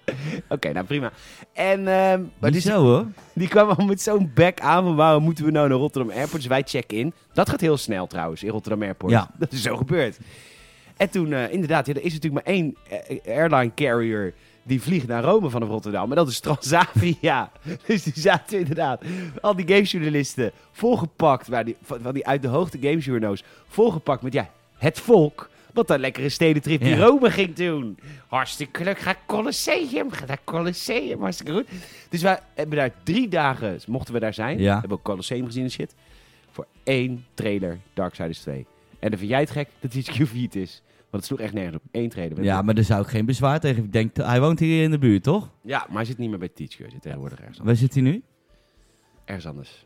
S1: Oké, nou prima. En ehm, maar
S2: Maar
S1: die,
S2: zo hoor.
S1: die kwam al met zo'n bek aan van waarom moeten we nou naar Rotterdam Airport? Dus wij checken in. Dat gaat heel snel trouwens, in Rotterdam Airport.
S2: Ja.
S1: Dat is zo gebeurd. En toen, eh, inderdaad, ja, er is natuurlijk maar één eh, airline carrier die vliegt naar Rome vanaf Rotterdam. En dat is Transavia. Dus die zaten inderdaad, al die gamejournalisten, volgepakt, waar die, van van die uit de hoogte gamejourno's, volgepakt met ja, het volk. Wat een lekkere stedentrip die
S2: Ja.
S1: Rome ging doen. Hartstikke leuk. Ga Colosseum. Ga naar Colosseum. Hartstikke goed. Dus wij hebben daar drie dagen, mochten we daar zijn.
S2: Ja.
S1: Hebben we ook Colosseum gezien en shit. Voor één trailer Darksiders 2. En dan vind jij het gek dat iets failliet is. Want het sloeg echt nergens op. Eén trailer.
S2: Ja, maar daar zou ik geen bezwaar tegen. Ik denk, hij woont hier in de buurt, toch?
S1: ja, maar hij zit niet meer bij Teach. Hij zit tegenwoordig ergens anders.
S2: Waar zit hij nu?
S1: Ergens anders.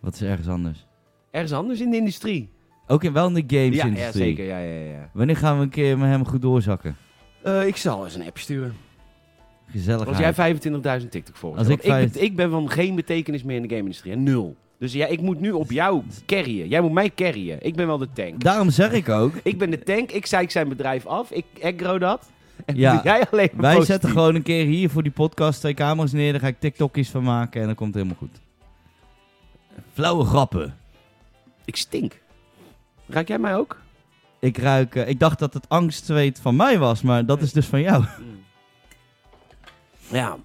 S2: Wat is ergens anders?
S1: Ergens anders in de industrie.
S2: Ook in, wel in de games
S1: ja, ja,
S2: industrie.
S1: zeker. Ja, ja, ja.
S2: Wanneer gaan we een keer met hem goed doorzakken?
S1: Eh, ik zal eens een app sturen.
S2: Gezellig.
S1: Als jij 25.000 TikTok-volgers
S2: Als
S1: hebt.
S2: ik
S1: Want
S2: vijf-
S1: ben, ik ben van geen betekenis meer in de game-industrie. hè. Nul. Dus ja, ik moet nu op jou carryen. Jij moet mij carryen. Ik ben wel de tank.
S2: Daarom zeg ik ook,
S1: Ik ben de tank. Ik zeik zijn bedrijf af. Ik aggro dat. En
S2: Ja.
S1: doe jij alleen maar
S2: wij
S1: positief.
S2: zetten gewoon een keer hier voor die podcast twee camera's neer. Daar ga ik TikTokjes van maken en dan komt het helemaal goed. Flauwe grappen.
S1: Ik stink. Raak jij mij ook?
S2: Ik ruik, eh, ik dacht dat het angstzweet van mij was, maar dat is dus van jou.
S1: Ja.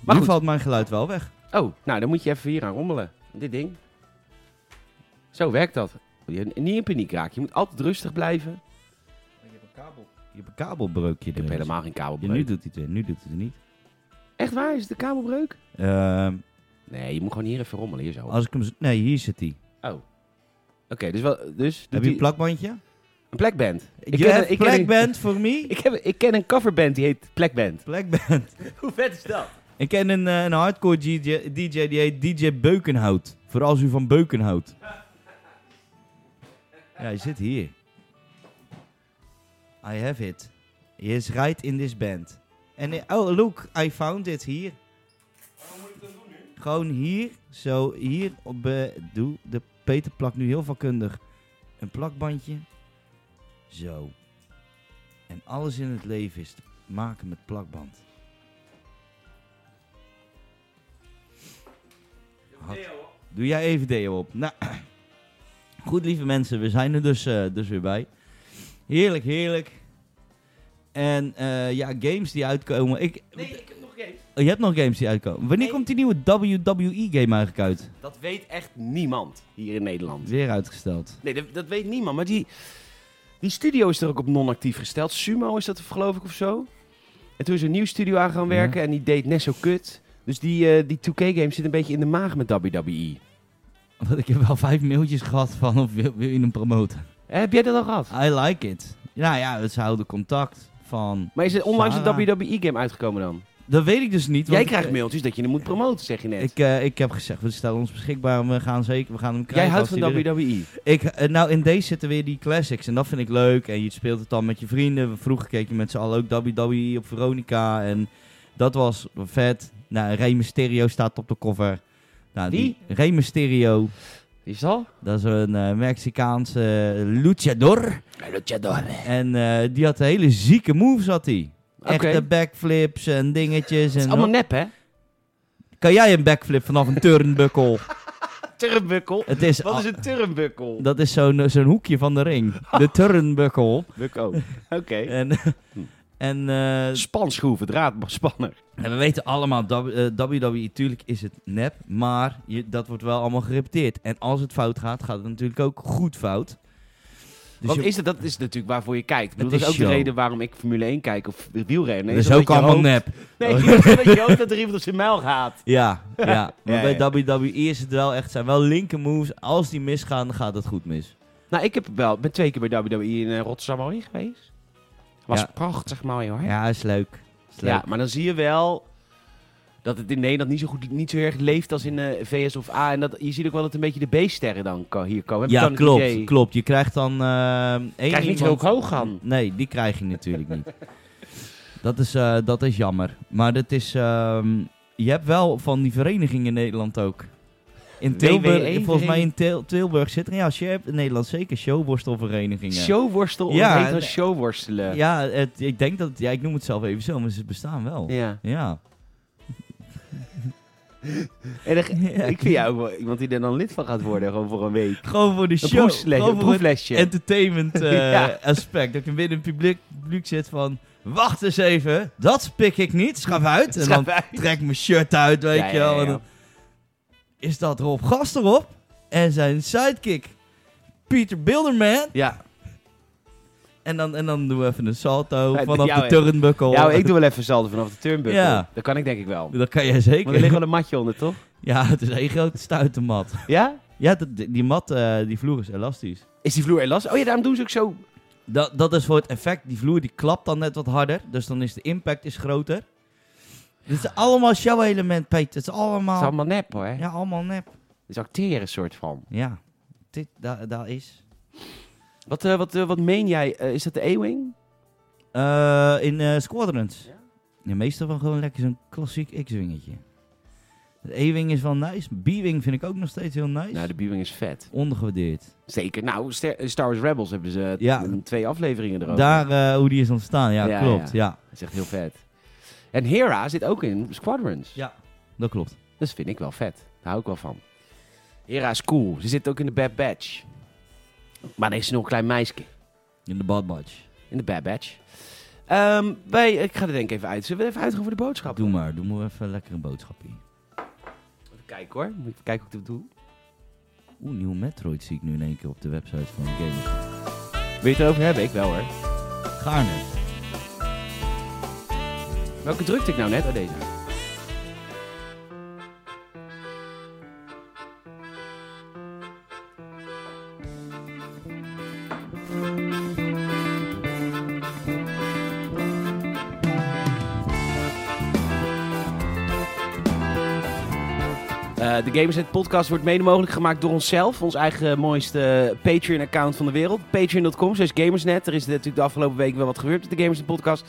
S1: Maar
S2: nu
S1: goed.
S2: valt mijn geluid wel weg.
S1: Oh, nou dan moet je even hier aan rommelen. Dit ding. Zo werkt dat. Je, niet in paniek raken. Je moet altijd rustig blijven.
S2: Je hebt een kabel. Je hebt een kabelbreukje.
S1: Ik heb
S2: erin.
S1: helemaal geen
S2: Ja, dus- nu
S1: kabelbreuk.
S2: doet hij het weer, nu doet hij het niet.
S1: Echt waar? Is het de kabelbreuk?
S2: Ehm,
S1: Nee, je moet gewoon hier even rommelen. Hier zo.
S2: als ik hem... z- Nee, hier zit hij.
S1: Oh. Oké, dus wel... Dus doet
S2: Heb je
S1: die-
S2: een plakbandje?
S1: Een plekband.
S2: Je
S1: ken-
S2: hebt
S1: ik ken-
S2: plakband voor me?
S1: Ik, heb, ik ken een coverband die heet Plekband.
S2: Plakband.
S1: Hoe vet is dat?
S2: Ik ken een, eh, een hardcore DJ, DJ die heet DJ Beukenhout. Vooral als u van Beuken houdt. Ja, hij zit hier. I have it. He is right in this band. En eh, oh, look, I found it hier. Gewoon hier, zo hier, op, eh, doe de Peter plakt nu heel vakkundig een plakbandje. Zo. En alles in het leven is te maken met plakband. Had- Doe jij even deo op. Nou, goed lieve mensen, we zijn er dus, eh, dus weer bij. Heerlijk, heerlijk. En eh, ja, games die uitkomen. Ik,
S1: Nee, ik heb nog geen.
S2: Oh, je hebt nog games die uitkomen. Wanneer
S1: Nee.
S2: komt die nieuwe WWE-game eigenlijk uit?
S1: Dat weet echt niemand hier in Nederland.
S2: Weer uitgesteld.
S1: Nee, dat, dat weet niemand. Maar die... Die studio is er ook op non-actief gesteld. Sumo is dat geloof ik of zo. En toen is er een nieuw studio aan gaan
S2: Ja.
S1: werken en die deed net zo kut. Dus die, eh, die 2K-game zit een beetje in de maag met E. WWE.
S2: Want ik heb wel vijf mailtjes gehad van of wil, wil je hem promoten.
S1: Eh, heb jij dat al gehad?
S2: I like it. Nou ja, ze houden contact van...
S1: Maar is er onlangs
S2: Sarah.
S1: een WWE-game uitgekomen dan?
S2: Dat weet ik dus niet. want
S1: Jij
S2: ik-
S1: krijgt mailtjes dat je hem moet promoten, zeg je net.
S2: eh, Ik, eh, ik heb gezegd, we stellen ons beschikbaar. en We gaan zeker, we gaan hem
S1: Jij
S2: krijgen.
S1: houdt
S2: als
S1: van E.
S2: hij er-
S1: WWE.
S2: Ik, eh, nou, in deze zitten weer die classics. En dat vind ik leuk. En je speelt het dan met je vrienden. Vroeger keek je met z'n allen ook WWE op Veronica. En dat was vet. Nou, Rey Mysterio staat op de cover. Nou,
S1: Wie?
S2: Rey Mysterio.
S3: Wie is dat?
S2: Dat is een eh, Mexicaanse eh, luchador.
S1: Luchador.
S2: En eh, die had hele zieke moves, had hij.
S1: Oké.
S2: Echte backflips en dingetjes.
S1: Het
S2: En
S1: is allemaal nep, hè?
S2: Kan jij een backflip vanaf een turnbuckle?
S1: Turnbuckle.
S2: het is
S1: Wat is een turnbuckle?
S2: Dat is zo'n eh, zo'n hoekje van de ring. De turnbuckle.
S1: Bucko. oh. Oké. Hm.
S2: En, en eh,
S1: Spanschroeven, draadspanner.
S2: en we weten allemaal, dat, eh, WWE, tuurlijk is het nep, maar je, dat wordt wel allemaal gerepeteerd. En als het fout gaat, gaat het natuurlijk ook goed fout. Dus
S1: Want
S2: je-
S1: is dat, dat is natuurlijk waarvoor je kijkt. Ik bedoel,
S2: Het
S1: dat is
S2: is
S1: ook de
S2: show.
S1: reden waarom ik Formule 1 kijk of wielrennen.
S2: dat is
S1: omdat
S2: ook
S1: je
S2: allemaal
S1: hoopt-
S2: nep.
S1: Nee, dat je hoopt dat er iemand op zijn muil gaat.
S2: Ja, ja. Maar
S1: Ja, ja.
S2: bij WWE is het wel echt, zijn wel linker moves. Als die misgaan, dan gaat het goed mis.
S1: Nou, ik heb wel, ben twee keer bij WWE in eh, Rotterdam alweer geweest. Was
S2: Ja.
S1: prachtig mooi hoor.
S2: Ja, is leuk. Is leuk.
S1: Ja, maar dan zie je wel dat het in Nederland niet zo goed, niet zo erg leeft als in eh, VS of A. En dat, je ziet ook wel dat een beetje de B-sterren dan ko- hier komen. Heb je
S2: Ja,
S1: dan het
S2: klopt,
S1: idee?
S2: klopt. Je krijgt dan eh één
S3: Krijg je niet
S2: iemand-
S3: ook hoog aan?
S2: Hmm. Nee, die krijg je natuurlijk niet. Dat is, eh, dat is jammer. Maar dat is, ehm, je hebt wel van die verenigingen in Nederland ook. In Tilburg,
S1: WWE?
S2: volgens mij in Til- Tilburg zit er, ja, als je hebt in Nederland zeker showworstelverenigingen.
S1: Showworstel, of
S2: Ja,
S1: het heet dan
S2: en-
S1: showworstelen.
S2: ja, het, ik denk dat, ja, ik noem het zelf even zo, maar ze bestaan wel. Ja.
S1: Ja.
S2: Ja,
S1: En dan- ik vind jou ook wel iemand die er dan lid van gaat worden, gewoon voor een week.
S2: Gewoon voor de
S1: Een
S2: show.
S1: proefles- een
S2: gewoon voor het
S1: proeflesje.
S2: entertainment eh,
S1: Ja.
S2: aspect. Dat je binnen het publiek, publiek zit van, wacht eens even, dat pik ik niet, schaf uit. En dan
S1: Schrijf uit.
S2: trek mijn shirt uit, weet
S1: Ja,
S2: je
S1: ja,
S2: wel.
S1: ja,
S2: En
S1: ja.
S2: dan is dat Rob Gasterop en zijn sidekick Pieter Bilderman.
S1: Ja,
S2: En dan, en dan doen we even een salto
S1: Ja,
S2: vanaf
S1: jou,
S2: de
S1: hè.
S2: turnbuckle.
S1: nou, ik doe wel even salto vanaf de turnbuckle.
S2: Ja.
S1: Dat kan ik denk ik wel.
S2: Dat kan jij
S1: Want er ligt
S2: zeker.
S1: wel een matje onder, toch?
S2: Ja, het is één grote stuitenmat.
S1: Ja?
S2: Ja, dat- die mat, eh, die vloer is elastisch.
S1: Is die vloer elastisch? Oh ja, daarom doen ze ook zo...
S2: Dat, dat is voor het effect. Die vloer die klapt dan net wat harder. Dus dan is de impact is groter. Dit is allemaal show-element, Peter. Het is
S1: Het
S2: allemaal...
S1: is allemaal nep, hoor.
S2: Ja, allemaal nep.
S1: Het is acteren, soort van.
S2: Ja. Dit, daar daar is...
S1: Wat, eh, wat, eh, wat meen jij? Eh, is dat de A-Wing?
S2: Eh, in eh, Squadrons.
S1: Ja?
S2: Ja, meestal van gewoon lekker zo'n klassiek X-wingetje. De E-wing is wel nice. B-wing vind ik ook nog steeds heel nice.
S1: Nou, de B-Wing is vet.
S2: Ondergewaardeerd.
S1: Zeker. Nou, Ster- eh, Star Wars Rebels hebben ze eh,
S2: Ja.
S1: t- twee afleveringen erover.
S2: Daar eh, hoe die is ontstaan. Ja,
S1: Ja,
S2: klopt. Ja. Ja.
S1: Dat is echt heel vet. En Hera zit ook in Squadrons.
S2: dat klopt.
S1: Dat Dus vind ik wel vet. Daar hou ik wel van. Hera is cool. Ze zit ook in de Bad Batch. Maar dan is ze nog een klein meisje.
S2: In de Bad Batch.
S1: In de Bad Batch. Ehm, wij, ik ga er denk ik even uit. Zullen we even uitgaan voor de boodschap?
S2: Doe maar. Doe maar even lekker een boodschapje.
S1: Even kijken hoor. Moet ik even kijken hoe ik dat doe.
S2: Oeh, nieuw Metroid zie ik nu in één keer op de website van Gamers.
S1: Wil je het erover hebben? Ik wel hoor.
S2: Gaarne.
S1: Welke drukte ik nou net? Oh, deze. Eh, de Gamersnet podcast wordt mede mogelijk gemaakt door onszelf. Ons eigen mooiste eh, Patreon-account van de wereld. Patreon.com, slash Gamersnet. Er is natuurlijk de afgelopen weken wel wat gebeurd met de Gamersnet podcast.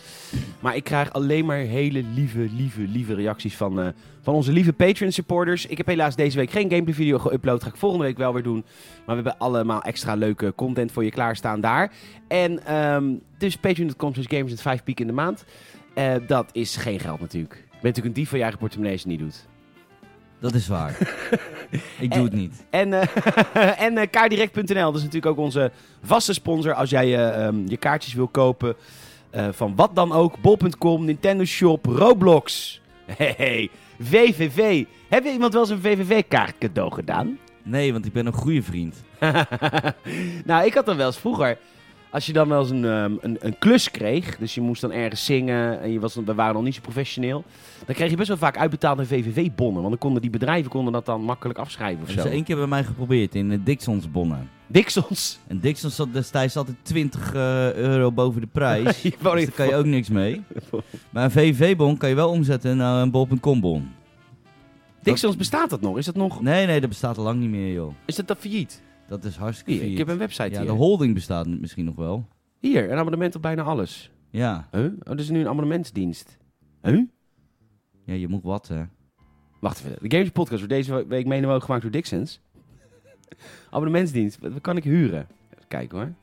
S1: Maar ik krijg alleen maar hele lieve, lieve, lieve reacties van, eh, van onze lieve Patreon-supporters. Ik heb helaas deze week geen gameplay-video geüpload. Ga ik volgende week wel weer doen. Maar we hebben allemaal extra leuke content voor je klaarstaan daar. En ehm dus patreon.com, slash Gamersnet, 5 piek in de maand. Eh, dat is geen geld natuurlijk. Je bent natuurlijk een dief van je eigen portemonnee als je het niet doet.
S2: Dat is waar. ik doe het niet.
S1: En, eh, en eh, kaardirect.nl, dat is natuurlijk ook onze vaste sponsor. Als jij eh, ehm, je kaartjes wil kopen eh, van wat dan ook. Bol.com, Nintendo Shop, Roblox. Hey, VVV. Heb je iemand wel eens een VVV-kaart cadeau gedaan?
S2: Nee, want ik ben een goede vriend.
S1: nou, ik had dan wel eens vroeger. als je dan wel eens een, ehm, een, een klus kreeg, dus je moest dan ergens zingen en je was, we waren nog niet zo professioneel, dan kreeg je best wel vaak uitbetaalde VVV-bonnen. Want dan konden die bedrijven konden dat dan makkelijk afschrijven of
S2: Dat is
S1: zo.
S2: één keer bij mij geprobeerd in de Dixons bonnen.
S1: Dixons.
S2: En Dixon zat destijds altijd 20 eh, euro boven de prijs.
S1: Je wou
S2: dus
S1: niet
S2: daar kan je ook niks mee. Maar een VVV-bon kan je wel omzetten naar een bol.com-bon.
S1: Dixons bestaat dat nog? Is dat nog?
S2: Nee, nee, dat bestaat al lang niet meer, joh.
S1: Is dat dan failliet?
S2: Dat is hartstikke
S1: Hier,
S2: vier.
S1: ik heb een website
S2: Ja,
S1: hier.
S2: de holding bestaat misschien nog wel.
S1: Hier, een abonnement op bijna alles.
S2: Ja,
S1: Huh? Oh, dat is nu een abonnementsdienst. Huh?
S2: ja je moet wat, hè.
S1: Wacht even. De Games Podcast wordt deze week mede mogelijk gemaakt door Dixons. abonnementsdienst. Wat wat kan ik huren? Even kijken hoor.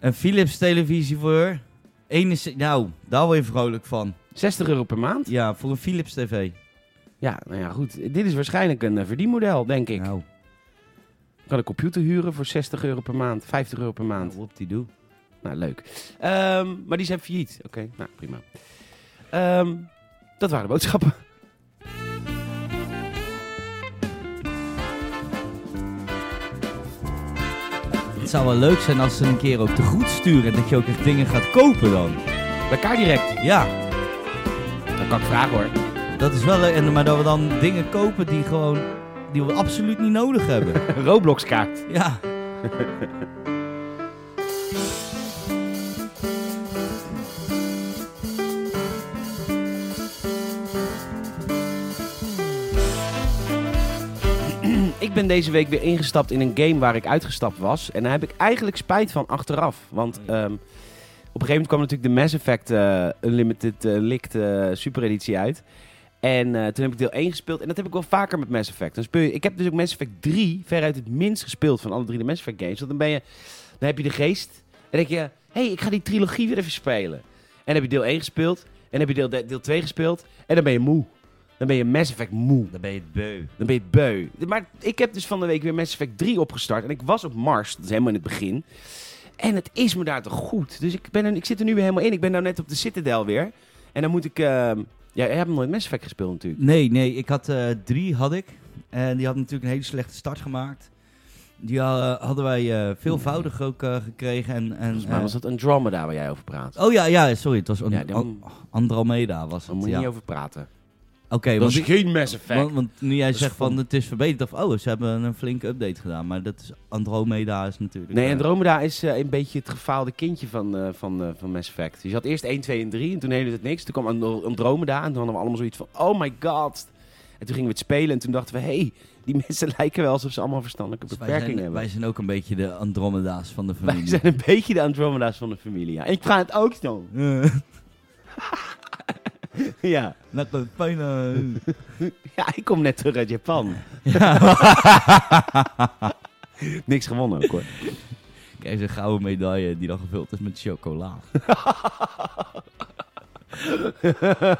S2: Een Philips televisie voor... 61 nou, daar word je vrolijk van.
S1: 60 euro per maand?
S2: Ja, voor een Philips TV.
S1: Ja, nou ja, goed. Dit is waarschijnlijk een eh, verdienmodel, denk ik.
S2: Nou,
S1: Ik kan een computer huren voor 60 euro per maand, 50 euro per maand.
S2: nou, op die doe.
S1: Nou, leuk. Ehm, maar die zijn failliet. Oké, nou prima. Ehm, dat waren de boodschappen.
S2: Het zou wel leuk zijn als ze een keer ook te goed sturen. en Dat je ook echt dingen gaat kopen dan.
S1: Bij Kaar direct.
S2: Ja,
S1: Dan kan ik vragen hoor.
S2: dat is wel leuk. En, maar dat we dan dingen kopen die gewoon... Die we absoluut niet nodig hebben.
S1: Roblox kaart.
S2: ja.
S1: Ik ben deze week weer ingestapt in een game waar ik uitgestapt was. En daar heb ik eigenlijk spijt van achteraf. Want
S2: Oh ja.
S1: ehm, op een gegeven moment kwam natuurlijk de Mass Effect eh, Unlimited eh, Licked eh, Super Editie uit. En eh, toen heb ik deel 1 gespeeld. En dat heb ik wel vaker met Mass Effect. Dan speel je, ik heb dus ook Mass Effect 3 veruit het minst gespeeld van alle drie de Mass Effect games. Want dan, ben je, dan heb je de geest. En denk je, hé, hey, ik ga die trilogie weer even spelen. En dan heb je deel 1 gespeeld. En dan heb je deel, deel 2 gespeeld. En dan ben je moe. Dan ben je Mass Effect moe.
S2: Dan ben je het beu.
S1: Dan ben je het beu. Maar ik heb dus van de week weer Mass Effect 3 opgestart. En ik was op Mars, dat is helemaal in het begin. En het is me daar toch goed. Dus ik, ben er, ik zit er nu weer helemaal in. Ik ben nou net op de Citadel weer. En dan moet ik... ehm, ja, jij hebt nog nooit Mass Effect gespeeld natuurlijk.
S2: Nee, nee. Ik had eh, drie, had ik. En die had natuurlijk een hele slechte start gemaakt. Die eh, hadden wij eh, veelvoudig ook eh, gekregen. En, en,
S1: Volgens mij was Dus dat Andromeda waar jij over praat.
S2: eh, oh ja, ja, sorry. Het was een,
S1: ja, daar
S2: an- Andromeda was
S1: daar
S2: het.
S1: moet je
S2: Ja.
S1: niet
S2: Oké,
S1: over praten.
S2: want, ik-
S1: geen Mass
S2: want, want nu jij
S1: Dat is
S2: zegt van
S1: vol-
S2: het is verbeterd, of oh, ze hebben een flinke update gedaan. Maar dat is Andromeda is natuurlijk.
S1: Nee,
S2: eh,
S1: Andromeda is eh, een beetje het gefaalde kindje van, eh, van, eh, van Mass Effect. Je had eerst 1, 2 en 3 en toen heette het niks. Toen kwam Andro- Andromeda en toen hadden we allemaal zoiets van, oh my god. En toen gingen we het spelen en toen dachten we, hé, hey, die mensen lijken wel alsof ze allemaal verstandelijke
S2: dus wij
S1: beperkingen
S2: zijn-
S1: hebben.
S2: Wij zijn ook een beetje de Andromeda's van de
S1: Wij
S2: familie.
S1: zijn een beetje de Andromeda's van de familie, ja. Ik ga het ook doen.
S2: Eh,
S1: ja.
S2: Lekker fijn, eh.
S1: ja, ik kom net terug uit Japan. niks gewonnen ook hoor.
S2: Kijk, zijn gouden medaille die dan gevuld is met chocola.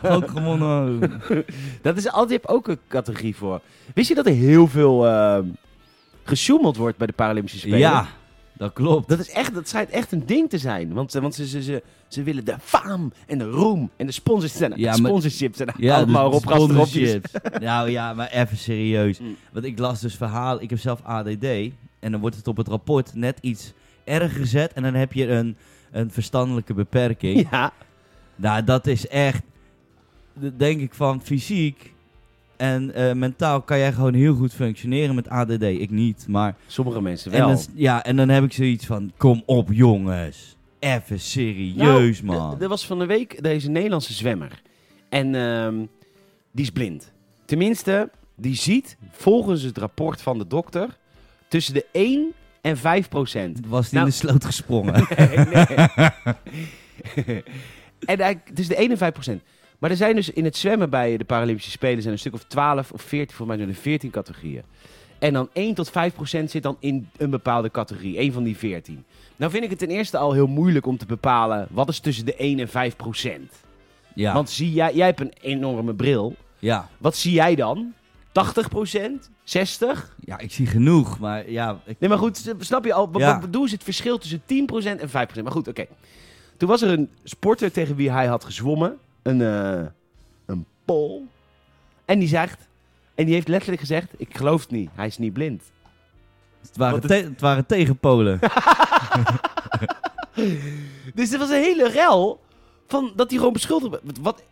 S2: Ook gewonnen.
S1: Dat is altijd je hebt ook een categorie voor. Wist je dat er heel veel ehm gesjoemeld wordt bij de Paralympische Spelen?
S2: Ja, dat klopt.
S1: Dat, is echt, dat schijnt echt een ding te zijn. Want, eh, want ze, ze, ze, ze willen de faam en de roem en de sponsors zijn
S2: Ja, maar-
S1: sponsorships en
S2: Ja,
S1: allemaal
S2: dus
S1: op erop.
S2: sponsorships. Nou ja, maar even serieus.
S1: Mm.
S2: Want ik las dus verhalen. Ik heb zelf ADD. En dan wordt het op het rapport net iets erger gezet. En dan heb je een, een verstandelijke beperking.
S1: Ja,
S2: Nou, dat is echt. d- Denk ik van fysiek en eh, mentaal kan jij gewoon heel goed functioneren met ADD. Ik niet, maar.
S1: sommige mensen
S2: En
S1: wel.
S2: dan, s- ja, en dan heb ik zoiets van: kom op, jongens. Even serieus,
S1: Nou,
S2: man.
S1: d- Er was van de week deze Nederlandse zwemmer. En ehm, die is blind. Tenminste, die ziet volgens het rapport van de dokter tussen de 1 en 5 procent.
S2: Was die
S1: Nou-
S2: in de sloot gesprongen?
S1: Nee, nee. en hij, het is de 51 Maar er zijn dus in het zwemmen bij de Paralympische Spelen zijn een stuk of 12 of 14, volgens mij zijn er 14 categorieën. En dan 1 tot 5 zit dan in een bepaalde categorie, één van die 14. Nou vind ik het ten eerste al heel moeilijk om te bepalen wat is tussen de 1 en 5
S2: ja,
S1: Want zie jij, jij hebt een enorme bril.
S2: ja.
S1: Wat zie jij dan? 80 60?
S2: ja, ik zie genoeg, maar ja. Ik,
S1: Nee, maar goed, snap je al? Wat,
S2: Ja.
S1: wat bedoel is het verschil tussen 10% en 5%? Maar goed, oké. Toen was er een sporter tegen wie hij had gezwommen. Een, eh een Pool. En die zegt... En die heeft letterlijk gezegd... Ik geloof het niet. Hij is niet blind.
S2: Het waren,
S1: Want het-
S2: te- het waren tegenpolen.
S1: Dus er was een hele rel van dat hij gewoon beschuldigd werd. Wat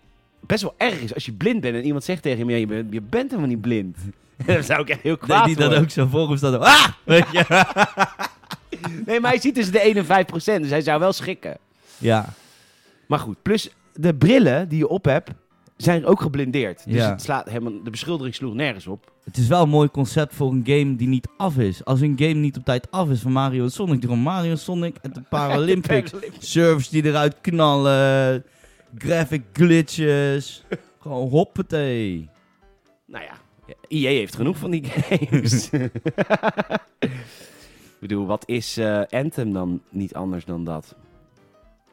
S1: best wel erg is als je blind bent en iemand zegt tegen je, "Ja, je bent, je bent helemaal niet blind. Dan zou ik echt heel
S2: Nee,
S1: kwaad
S2: die dan
S1: worden.
S2: ook zo voor hem staat. Ah! Weet je?
S1: Nee, maar hij ziet tussen de 1 en 5 procent, dus hij zou wel schrikken.
S2: Ja.
S1: Maar goed, plus de brillen die je op hebt, zijn ook geblindeerd. Dus
S2: Ja.
S1: het slaat helemaal, de beschuldiging sloeg nergens op.
S2: Het is wel een mooi concept voor een game die niet af is. Als een game niet op tijd af is van Mario en Sonic, dan Mario en Sonic en de Paralympics. Servers die eruit knallen, graphic glitches. Gewoon hoppatee.
S1: Nou ja, EA heeft genoeg van die games. Ik bedoel, wat is eh, Anthem dan niet anders dan dat?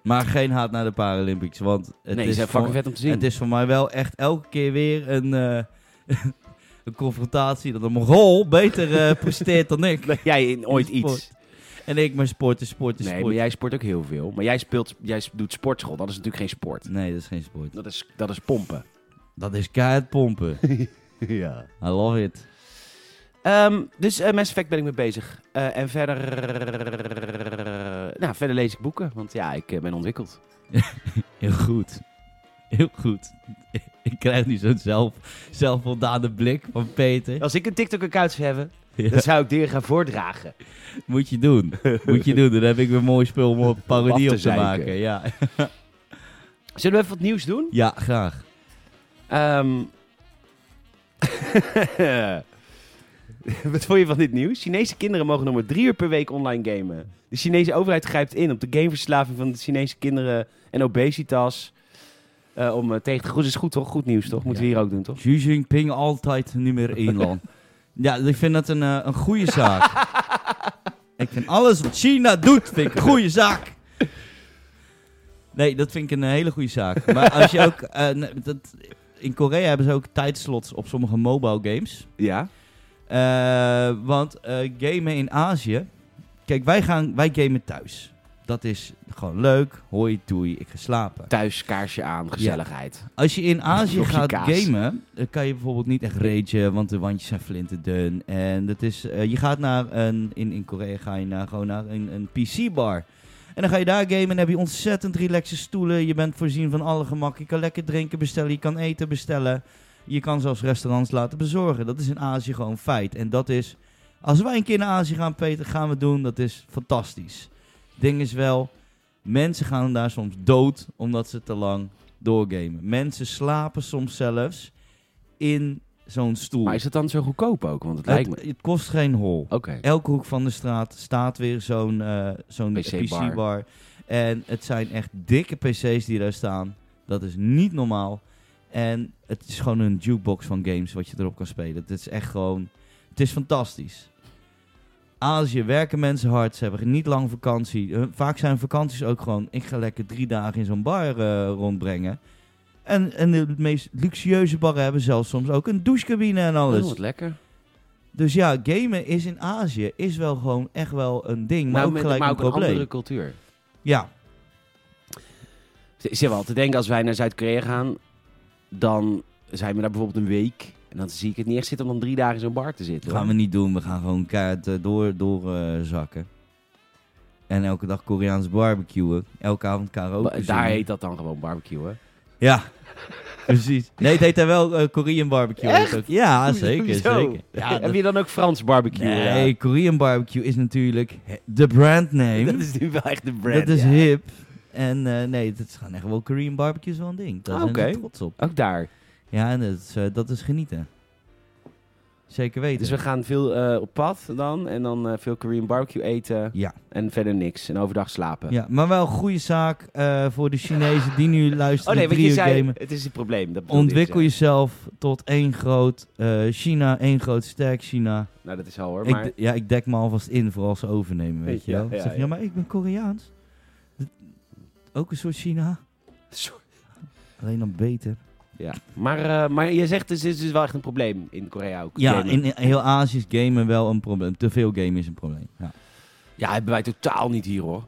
S2: Maar geen haat naar de Paralympics, want het,
S1: nee, ze
S2: is,
S1: zijn
S2: voor,
S1: fucking vet om te zien.
S2: het is voor mij wel echt elke keer weer een, eh, een confrontatie dat een Mongool beter eh, presteert dan ik.
S1: Dat jij in ooit iets.
S2: Sport. En ik, maar sport is sport is
S1: Nee,
S2: sport.
S1: maar jij sport ook heel veel. Maar jij, speelt, jij doet sportschool. Dat is natuurlijk geen sport.
S2: Nee, dat is geen sport.
S1: Dat is, dat is pompen.
S2: Dat is keihard pompen.
S1: ja.
S2: I love it.
S1: dus eh Mass Effect ben ik mee bezig. Eh, en verder... nou, verder lees ik boeken. Want ja, ik eh, ben ontwikkeld.
S2: Heel goed. Heel goed. Ik krijg nu zo'n zelf, zelfvoldane blik van Peter.
S1: Als ik een TikTok-account zou hebben,
S2: Ja,
S1: dan zou ik dingen gaan voordragen.
S2: moet je doen. Moet je doen. Dan heb ik weer mooi spul om een
S1: Om af
S2: parodie
S1: te
S2: op te
S1: zeiken.
S2: maken. Ja.
S1: Zullen we even wat nieuws doen?
S2: ja, graag.
S1: Ehm. Wat vond je van dit nieuws? Chinese kinderen mogen nog maar drie uur per week online gamen. De Chinese overheid grijpt in op de gameverslaving van de Chinese kinderen en obesitas. eh, om eh, tegen te goed is goed toch? Goed nieuws toch? Moeten we hier ook doen toch?
S2: Xi Jinping altijd nummer één land. Ja, ik vind dat een, eh, een goede zaak. ik vind alles wat China doet, vind ik een goede zaak. Nee, dat vind ik een hele goede zaak. Maar als je ook... eh, nee, dat, in Korea hebben ze ook tijdslots op sommige mobile games.
S1: Ja.
S2: Eh, want eh, gamen in Azië. Kijk, wij, gaan, wij gamen thuis. Dat is gewoon leuk. Hoi, doei, ik ga slapen.
S1: Thuis kaarsje aan, gezelligheid.
S2: Als je in Azië
S1: Blokje
S2: gaat
S1: kaas.
S2: gamen, dan kan je bijvoorbeeld niet echt ragen, want de wandjes zijn flinterdun. En dat is, eh, je gaat naar een, in, in Korea ga je naar, gewoon naar een, een PC-bar. En dan ga je daar gamen en dan heb je ontzettend relaxe stoelen. Je bent voorzien van alle gemak. Je kan lekker drinken bestellen, je kan eten bestellen. Je kan zelfs restaurants laten bezorgen. Dat is in Azië gewoon een feit. En dat is, als wij een keer naar Azië gaan, Peter, gaan we doen. Dat is fantastisch. Ding is wel, mensen gaan daar soms dood omdat ze te lang doorgamen. Mensen slapen soms zelfs in zo'n stoel.
S1: Maar is het dan zo goedkoop ook? Want het
S2: het,
S1: lijkt me.
S2: het kost geen hol.
S1: Oké.
S2: Elke hoek van de straat staat weer zo'n eh, zo'n
S1: PC-bar.
S2: PC-bar. en het zijn echt dikke PC's die daar staan. Dat is niet normaal. En het is gewoon een jukebox van games wat je erop kan spelen. Het is echt gewoon... Het is fantastisch. Azië werken mensen hard. Ze hebben niet lang vakantie. Eh, Vaak zijn vakanties ook gewoon... Ik ga lekker drie dagen in zo'n bar eh, rondbrengen. En, en de meest luxueuze barren hebben zelfs soms ook een douchecabine en alles.
S1: Oh, wat lekker.
S2: Dus ja, gamen is in Azië is wel gewoon echt wel een ding, maar
S1: Nou,
S2: ook
S1: met-
S2: gelijk
S1: maar
S2: een
S1: ook een
S2: probleem.
S1: andere cultuur.
S2: Ja,
S1: Z- Zit wel te denken, als wij naar Zuid-Korea gaan, dan zijn we daar bijvoorbeeld een week. En dan zie ik het niet echt zitten om dan drie dagen in zo'n bar te zitten.
S2: dat gaan we
S1: hoor.
S2: niet doen. We gaan gewoon keihard eh, door, door eh, zakken. En elke dag Koreaans barbecuen. Elke avond karaoke
S1: Ba-
S2: zingen.
S1: Daar heet dat dan gewoon barbecue, hè?
S2: Ja, precies. Nee, het heet daar wel eh, Korean barbecue. Ook. Ja, zeker,
S1: Zo.
S2: zeker. Ja,
S1: Heb
S2: dat-
S1: je dan ook Frans barbecue?
S2: Nee, Korean barbecue is natuurlijk de brandname.
S1: Ja. Dat is nu wel echt de brand.
S2: Dat is
S1: ja.
S2: hip. En eh, nee, dat is gewoon echt wel Korean barbecue is wel een ding. Daar
S1: Ah,
S2: zijn ze
S1: oké.
S2: trots op.
S1: Ook daar.
S2: Ja, en dat is, eh, dat is genieten. Zeker weten.
S1: Dus we gaan veel eh, op pad dan. En dan eh, veel Korean barbecue eten.
S2: Ja.
S1: En verder niks. En overdag slapen.
S2: ja, maar wel een goede zaak eh, voor de Chinezen die nu
S1: Oh
S2: luisteren.
S1: nee,
S2: naar
S1: want je
S2: drie uur
S1: zei,
S2: gamen.
S1: het is een probleem. Dat bedoelde ik, dus,
S2: Ontwikkel
S1: ja.
S2: jezelf tot één groot eh, China, één groot sterk China.
S1: Nou, dat is al hoor.
S2: Ik
S1: Maar
S2: d- ja, ik dek me alvast in voor als ze overnemen, weet je
S1: Ja,
S2: wel.
S1: ja,
S2: zeg je,
S1: ja.
S2: ja, maar ik ben Koreaans. Dat- ook een soort China,
S1: Sorry.
S2: alleen dan beter.
S1: ja. maar, eh, maar je zegt, dus, het is dus wel echt een probleem in Korea ook.
S2: Ja,
S1: gamen.
S2: in, in heel Azië is gamen wel een probleem. Te veel gamen is een probleem. Ja.
S1: Ja, hebben wij totaal niet hier hoor.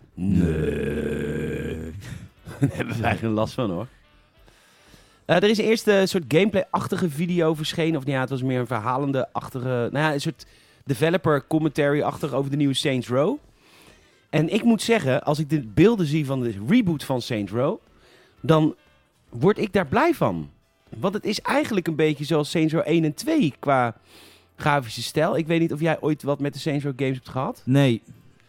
S1: Nee. Daar hebben wij geen last van hoor. Eh, er is eerst een soort gameplay-achtige video verschenen. Of nou ja, het was meer een verhalende-achtige... Nou ja, een soort developer commentary-achtig over de nieuwe Saints Row. En ik moet zeggen, als ik de beelden zie van de reboot van Saints Row, dan word ik daar blij van. Want het is eigenlijk een beetje zoals Saints Row 1 en 2 qua grafische stijl. Ik weet niet of jij ooit wat met de Saints Row games hebt gehad.
S2: Nee,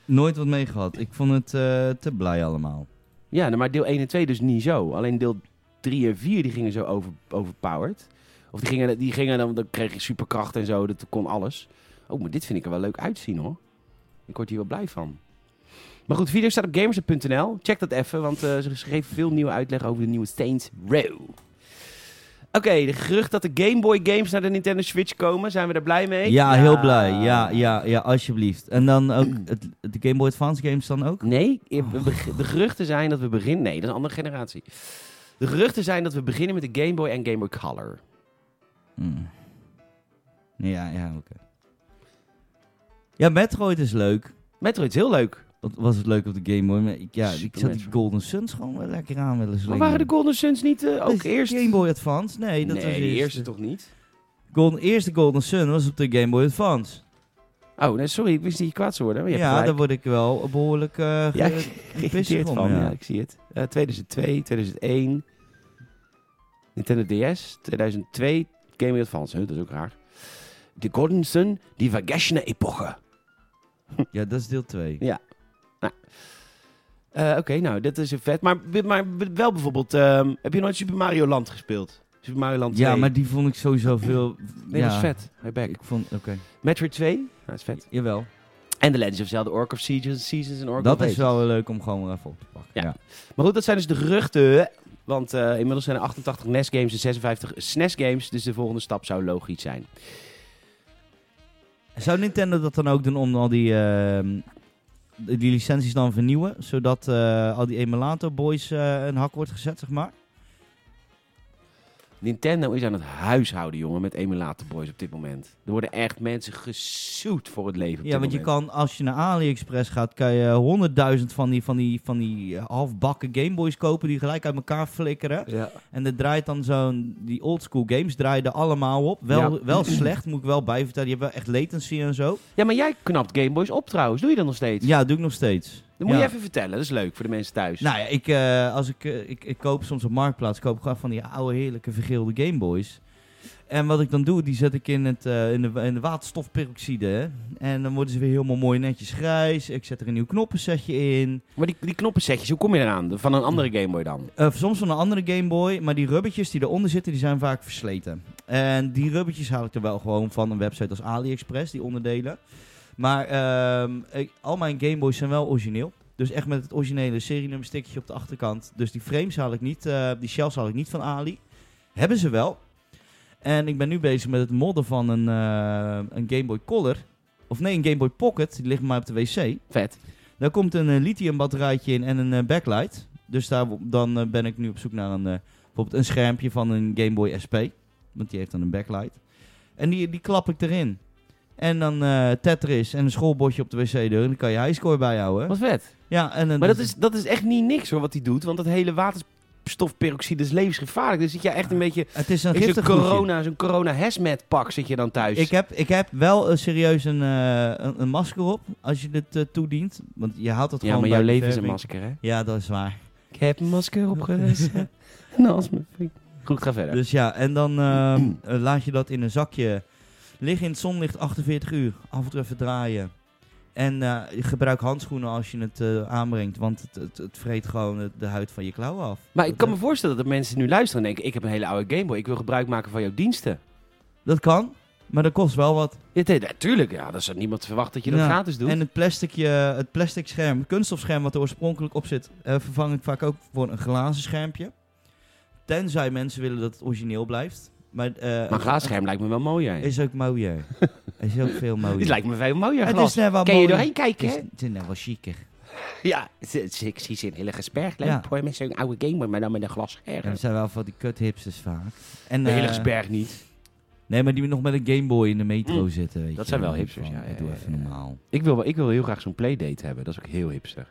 S2: nooit wat meegehad. Ik vond het eh, te blij allemaal.
S1: Ja, nou, maar deel 1 en 2 dus niet zo. Alleen deel 3 en 4 die gingen zo over, overpowered. Of die gingen, die gingen dan, dan kreeg je superkracht en zo, dat kon alles. Oh, maar dit vind ik er wel leuk uitzien hoor. Ik word hier wel blij van. Maar goed, video staat op gamers.nl. Check dat even, want eh, ze geven veel nieuwe uitleg over de nieuwe Saints Row. Oké, de gerucht dat de Game Boy games naar de Nintendo Switch komen. Zijn we daar blij mee?
S2: Ja, heel blij. Ja, ja, ja, alsjeblieft. En dan ook het, de Game Boy Advance games dan ook?
S1: Nee,
S2: Oh.
S1: we beg- de geruchten zijn dat we beginnen. Nee, dat is een andere generatie. De geruchten zijn dat we beginnen met de Game Boy en Game Boy Color.
S2: Hmm. Ja, ja, oké. Ja, Metroid is leuk.
S1: Metroid is heel leuk.
S2: Wat was het leuk op de Game Boy? maar ik- Ja, ik
S1: Super
S2: zat die
S1: Metroid.
S2: Golden Suns gewoon wel lekker aan willen
S1: Maar
S2: slingen.
S1: waren de Golden Suns niet eh, ook
S2: De
S1: eerst?
S2: Game Boy Advance? Nee, dat
S1: nee,
S2: was
S1: de
S2: eerst.
S1: eerste toch niet?
S2: Golden, eerste Golden Sun was op de Game Boy Advance.
S1: Oh, nee, sorry, ik wist niet je kwaad zou worden. Maar je
S2: Ja,
S1: hebt gelijk.
S2: daar word ik wel behoorlijk eh ge-
S1: Ja,
S2: pissig
S1: geïrriteerd
S2: om,
S1: van. Ja.
S2: ja.
S1: ik zie het. Eh, 2002, 2001, Nintendo DS, 2002, Game Boy Advance. Huh, dat is ook raar. De Golden Sun, die Vergessene-epoche.
S2: Ja, dat is deel 2.
S1: Eh, Oké, nou, dat is een vet. Maar, maar wel bijvoorbeeld, ehm, heb je nooit Super Mario Land gespeeld? Super Mario Land 2.
S2: Ja, maar die vond ik sowieso veel...
S1: Nee,
S2: ja.
S1: dat is vet. Hey, back.
S2: Ik vond... Oké.
S1: Metroid 2, nou, dat is vet.
S2: Jawel.
S1: En The Legend of Zelda, Orc of Seasons, Seasons en Orc of
S2: Dat is
S1: Ages.
S2: wel weer leuk om gewoon weer even op te pakken.
S1: Ja.
S2: Ja.
S1: Maar goed, dat zijn dus de geruchten. Want eh, inmiddels zijn er 88 NES-games en 56 SNES-games. Dus de volgende stap zou logisch zijn.
S2: Zou Nintendo dat dan ook doen om al die, ehm, die licenties dan vernieuwen? Zodat eh, al die emulator boys eh, een hak wordt gezet, zeg maar?
S1: Nintendo is aan het huishouden, jongen, met emulator boys op dit moment. Er worden echt mensen gesuwd voor het leven. op
S2: Ja,
S1: dit
S2: want je
S1: moment.
S2: kan, als je naar AliExpress gaat, kan je honderdduizend van die, van die, van die halfbakken Gameboys kopen die gelijk uit elkaar flikkeren.
S1: Ja.
S2: En dat draait dan zo'n, die oldschool games draaiden allemaal op. Wel,
S1: Ja.
S2: wel slecht, moet ik wel bijvertellen. Je hebt wel echt latency en zo.
S1: ja, maar jij knapt Gameboys op trouwens. Doe je dat nog steeds?
S2: Ja, doe ik nog steeds.
S1: Dat moet
S2: Ja.
S1: je even vertellen. Dat is leuk voor de mensen thuis.
S2: Nou ja, ik, eh, als ik, eh, ik, ik koop soms op Marktplaats, koop ik gewoon van die oude heerlijke vergeelde Gameboys. En wat ik dan doe, die zet ik in, het, eh, in, de, in de waterstofperoxide. hè. En dan worden ze weer helemaal mooi netjes grijs. Ik zet er een nieuw knoppensetje in.
S1: Maar die, die knoppensetjes, hoe kom je eraan? Van een andere Gameboy dan?
S2: Eh, soms van een andere Game Boy, maar die rubbertjes die eronder zitten, die zijn vaak versleten. En die rubbertjes haal ik er wel gewoon van een website als AliExpress, die onderdelen. Maar ehm, ik- al mijn Game Boys zijn wel origineel. Dus echt met het originele serienummer stikje op de achterkant. Dus die frames haal ik niet, eh, die shells haal ik niet van Ali. Hebben ze wel. En ik ben nu bezig met het modden van een, eh, een Game Boy Color. Of nee, een Game Boy Pocket. Die ligt maar op de wc.
S1: Vet.
S2: Daar komt een eh, lithiumbatterijtje in en een eh, backlight. Dus daar, dan eh, ben ik nu op zoek naar een, eh, bijvoorbeeld een schermpje van een Game Boy SP. Want die heeft dan een backlight. En die, die klap ik erin. En dan eh, Tetris en een schoolbordje op de wc-deur. En dan kan je highscore bijhouden.
S1: Wat vet.
S2: Ja, en, dan-
S1: Maar dat is, dat is echt niet niks hoor, wat hij doet. Want dat hele waterstofperoxide is levensgevaarlijk. Dus zit je echt een beetje...
S2: het is een
S1: in Zo'n
S2: giftig groetje.
S1: corona, zo'n corona hazmat pak zit je dan thuis.
S2: Ik heb, ik heb wel eh, serieus een, eh, een, een masker op als je dit eh, toedient. Want je haalt dat
S1: ja,
S2: gewoon
S1: maar
S2: bij
S1: jouw
S2: de
S1: leven is een
S2: verving.
S1: masker, hè?
S2: Ja, dat is waar.
S1: Ik heb een masker opgelassen. nou, als mijn vriend. Goed, ga verder.
S2: Dus ja, en dan ehm, eh, laat je dat in een zakje liggen in het zonlicht 48 uur. Af en toe even draaien. En eh, gebruik handschoenen als je het eh, aanbrengt, want het, het, het vreet gewoon eh, de huid van je klauwen af.
S1: maar ik
S2: Dat-
S1: kan me voorstellen dat er mensen nu luisteren en denken... ik heb een hele oude Gameboy, ik wil gebruik maken van jouw diensten.
S2: Dat kan, maar dat kost wel wat.
S1: Ja, t- natuurlijk, ja, dat is aan niemand verwacht dat je dat
S2: Ja,
S1: gratis doet.
S2: En het plasticje, het plastic scherm, het kunststofscherm wat er oorspronkelijk op zit, eh, vervang ik vaak ook voor een glazen schermpje. Tenzij mensen willen dat het origineel blijft. Maar, eh,
S1: maar een glaasscherm lijkt me wel mooier.
S2: is ook mooier. is ook veel mooier.
S1: Dit lijkt me veel mooier
S2: het
S1: glas.
S2: is net wat
S1: Kan je
S2: mooier.
S1: doorheen kijken,
S2: Het
S1: hè?
S2: is, het is net wel chiquer.
S1: Ja, het is- ik zie ze in hele gesberg.
S2: Ja.
S1: Leuk hoor, met zo'n oude Gameboy, maar dan met een glas
S2: Ja,
S1: scherm.
S2: dat zijn wel van die kuthipsters vaak. En,
S1: De
S2: eh,
S1: Hillegersberg niet.
S2: nee, maar die nog met een Gameboy in de metro
S1: Mm.
S2: zitten. Weet
S1: Dat
S2: je,
S1: zijn wel
S2: Dan
S1: hipsters,
S2: van,
S1: ja,
S2: eh,
S1: ja,
S2: Doe
S1: ja,
S2: even
S1: ja.
S2: normaal.
S1: Ik wil, wel- ik wil heel graag zo'n playdate hebben. Dat is ook heel hipster.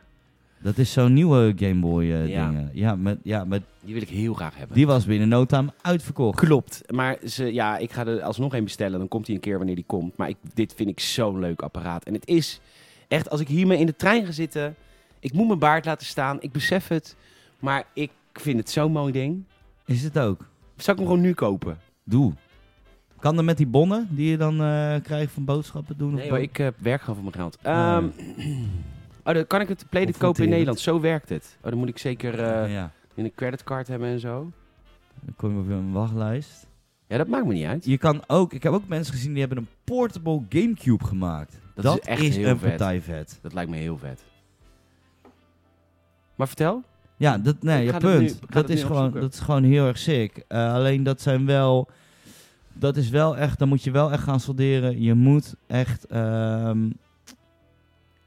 S2: Dat is zo'n nieuwe Game Boy eh,
S1: Ja.
S2: ding. eh. Ja, met, ja met,
S1: Die wil ik heel graag hebben.
S2: die was binnen no time uitverkocht.
S1: Klopt. Maar ze, ja, ik ga er alsnog een bestellen. Dan komt hij een keer wanneer die komt. Maar ik, dit vind ik zo'n leuk apparaat. En het is echt, als ik hiermee in de trein ga zitten. Ik moet mijn baard laten staan. Ik besef het. Maar ik vind het zo'n mooi ding.
S2: Is het ook?
S1: Zou ik hem gewoon nu kopen?
S2: Doe. Kan dat met die bonnen die je dan eh, krijgt van boodschappen doen?
S1: Nee,
S2: of
S1: hoor,
S2: bo-
S1: ik eh, werk gewoon voor mijn geld.
S2: Ja.
S1: Ehm, oh, dan kan ik het playdate kopen in
S2: Confronterend.
S1: Nederland. Zo werkt het. Oh, dan moet ik zeker eh,
S2: Ah, ja,
S1: in een creditcard hebben en zo.
S2: dan kom je op een wachtlijst.
S1: Ja, dat maakt me niet uit.
S2: Je kan ook, ik heb ook mensen gezien die hebben een portable Gamecube gemaakt.
S1: Dat
S2: Dat,
S1: is echt
S2: is
S1: heel
S2: een
S1: vet.
S2: partij vet.
S1: Dat lijkt me heel vet. Maar vertel.
S2: Ja, dat, nee,
S1: Ik
S2: ja,
S1: ga dat nu-
S2: punt.
S1: ik ga dat
S2: dat,
S1: nu
S2: is gewoon,
S1: opzoeken.
S2: dat is gewoon heel erg sick. Eh, alleen dat zijn wel. Dat is wel echt. Dan moet je wel echt gaan solderen. Je moet echt ehm,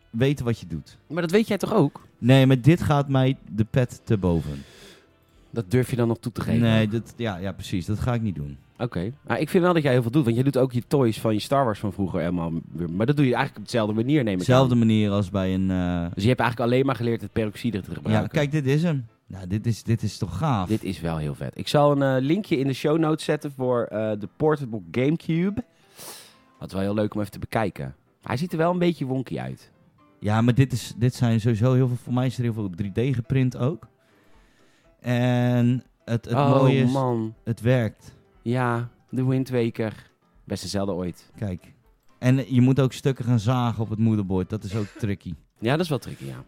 S2: weten wat je doet.
S1: Maar dat weet jij toch ook?
S2: Nee, maar dit gaat mij de pet te boven.
S1: Dat durf je dan nog toe te geven?
S2: Nee, dat, ja, ja, precies. Dat ga ik niet doen.
S1: Oké. Maar ik vind wel dat jij heel veel doet. Want jij doet ook je toys van je Star Wars van vroeger helemaal weer. Maar dat doe je eigenlijk op dezelfde manier, neem ik
S2: Dezelfde
S1: aan.
S2: manier als bij een. eh,
S1: Dus je hebt eigenlijk alleen maar geleerd het peroxide te gebruiken.
S2: ja, kijk, dit is hem. Nou, dit is, dit is toch gaaf.
S1: Dit is wel heel vet. Ik zal een eh, linkje in de show notes zetten voor eh, de Portable Gamecube. Wat wel heel leuk om even te bekijken. Hij ziet er wel een beetje wonky uit.
S2: Ja, maar dit, is, dit zijn sowieso heel veel. Voor mij is er heel veel 3D geprint ook. En het, het
S1: oh
S2: mooie is,
S1: man.
S2: het werkt.
S1: Ja, de Wind Waker. Best dezelfde ooit.
S2: Kijk. En je moet ook stukken gaan zagen op het moederbord. Dat is ook tricky.
S1: Ja, dat is wel tricky, ja.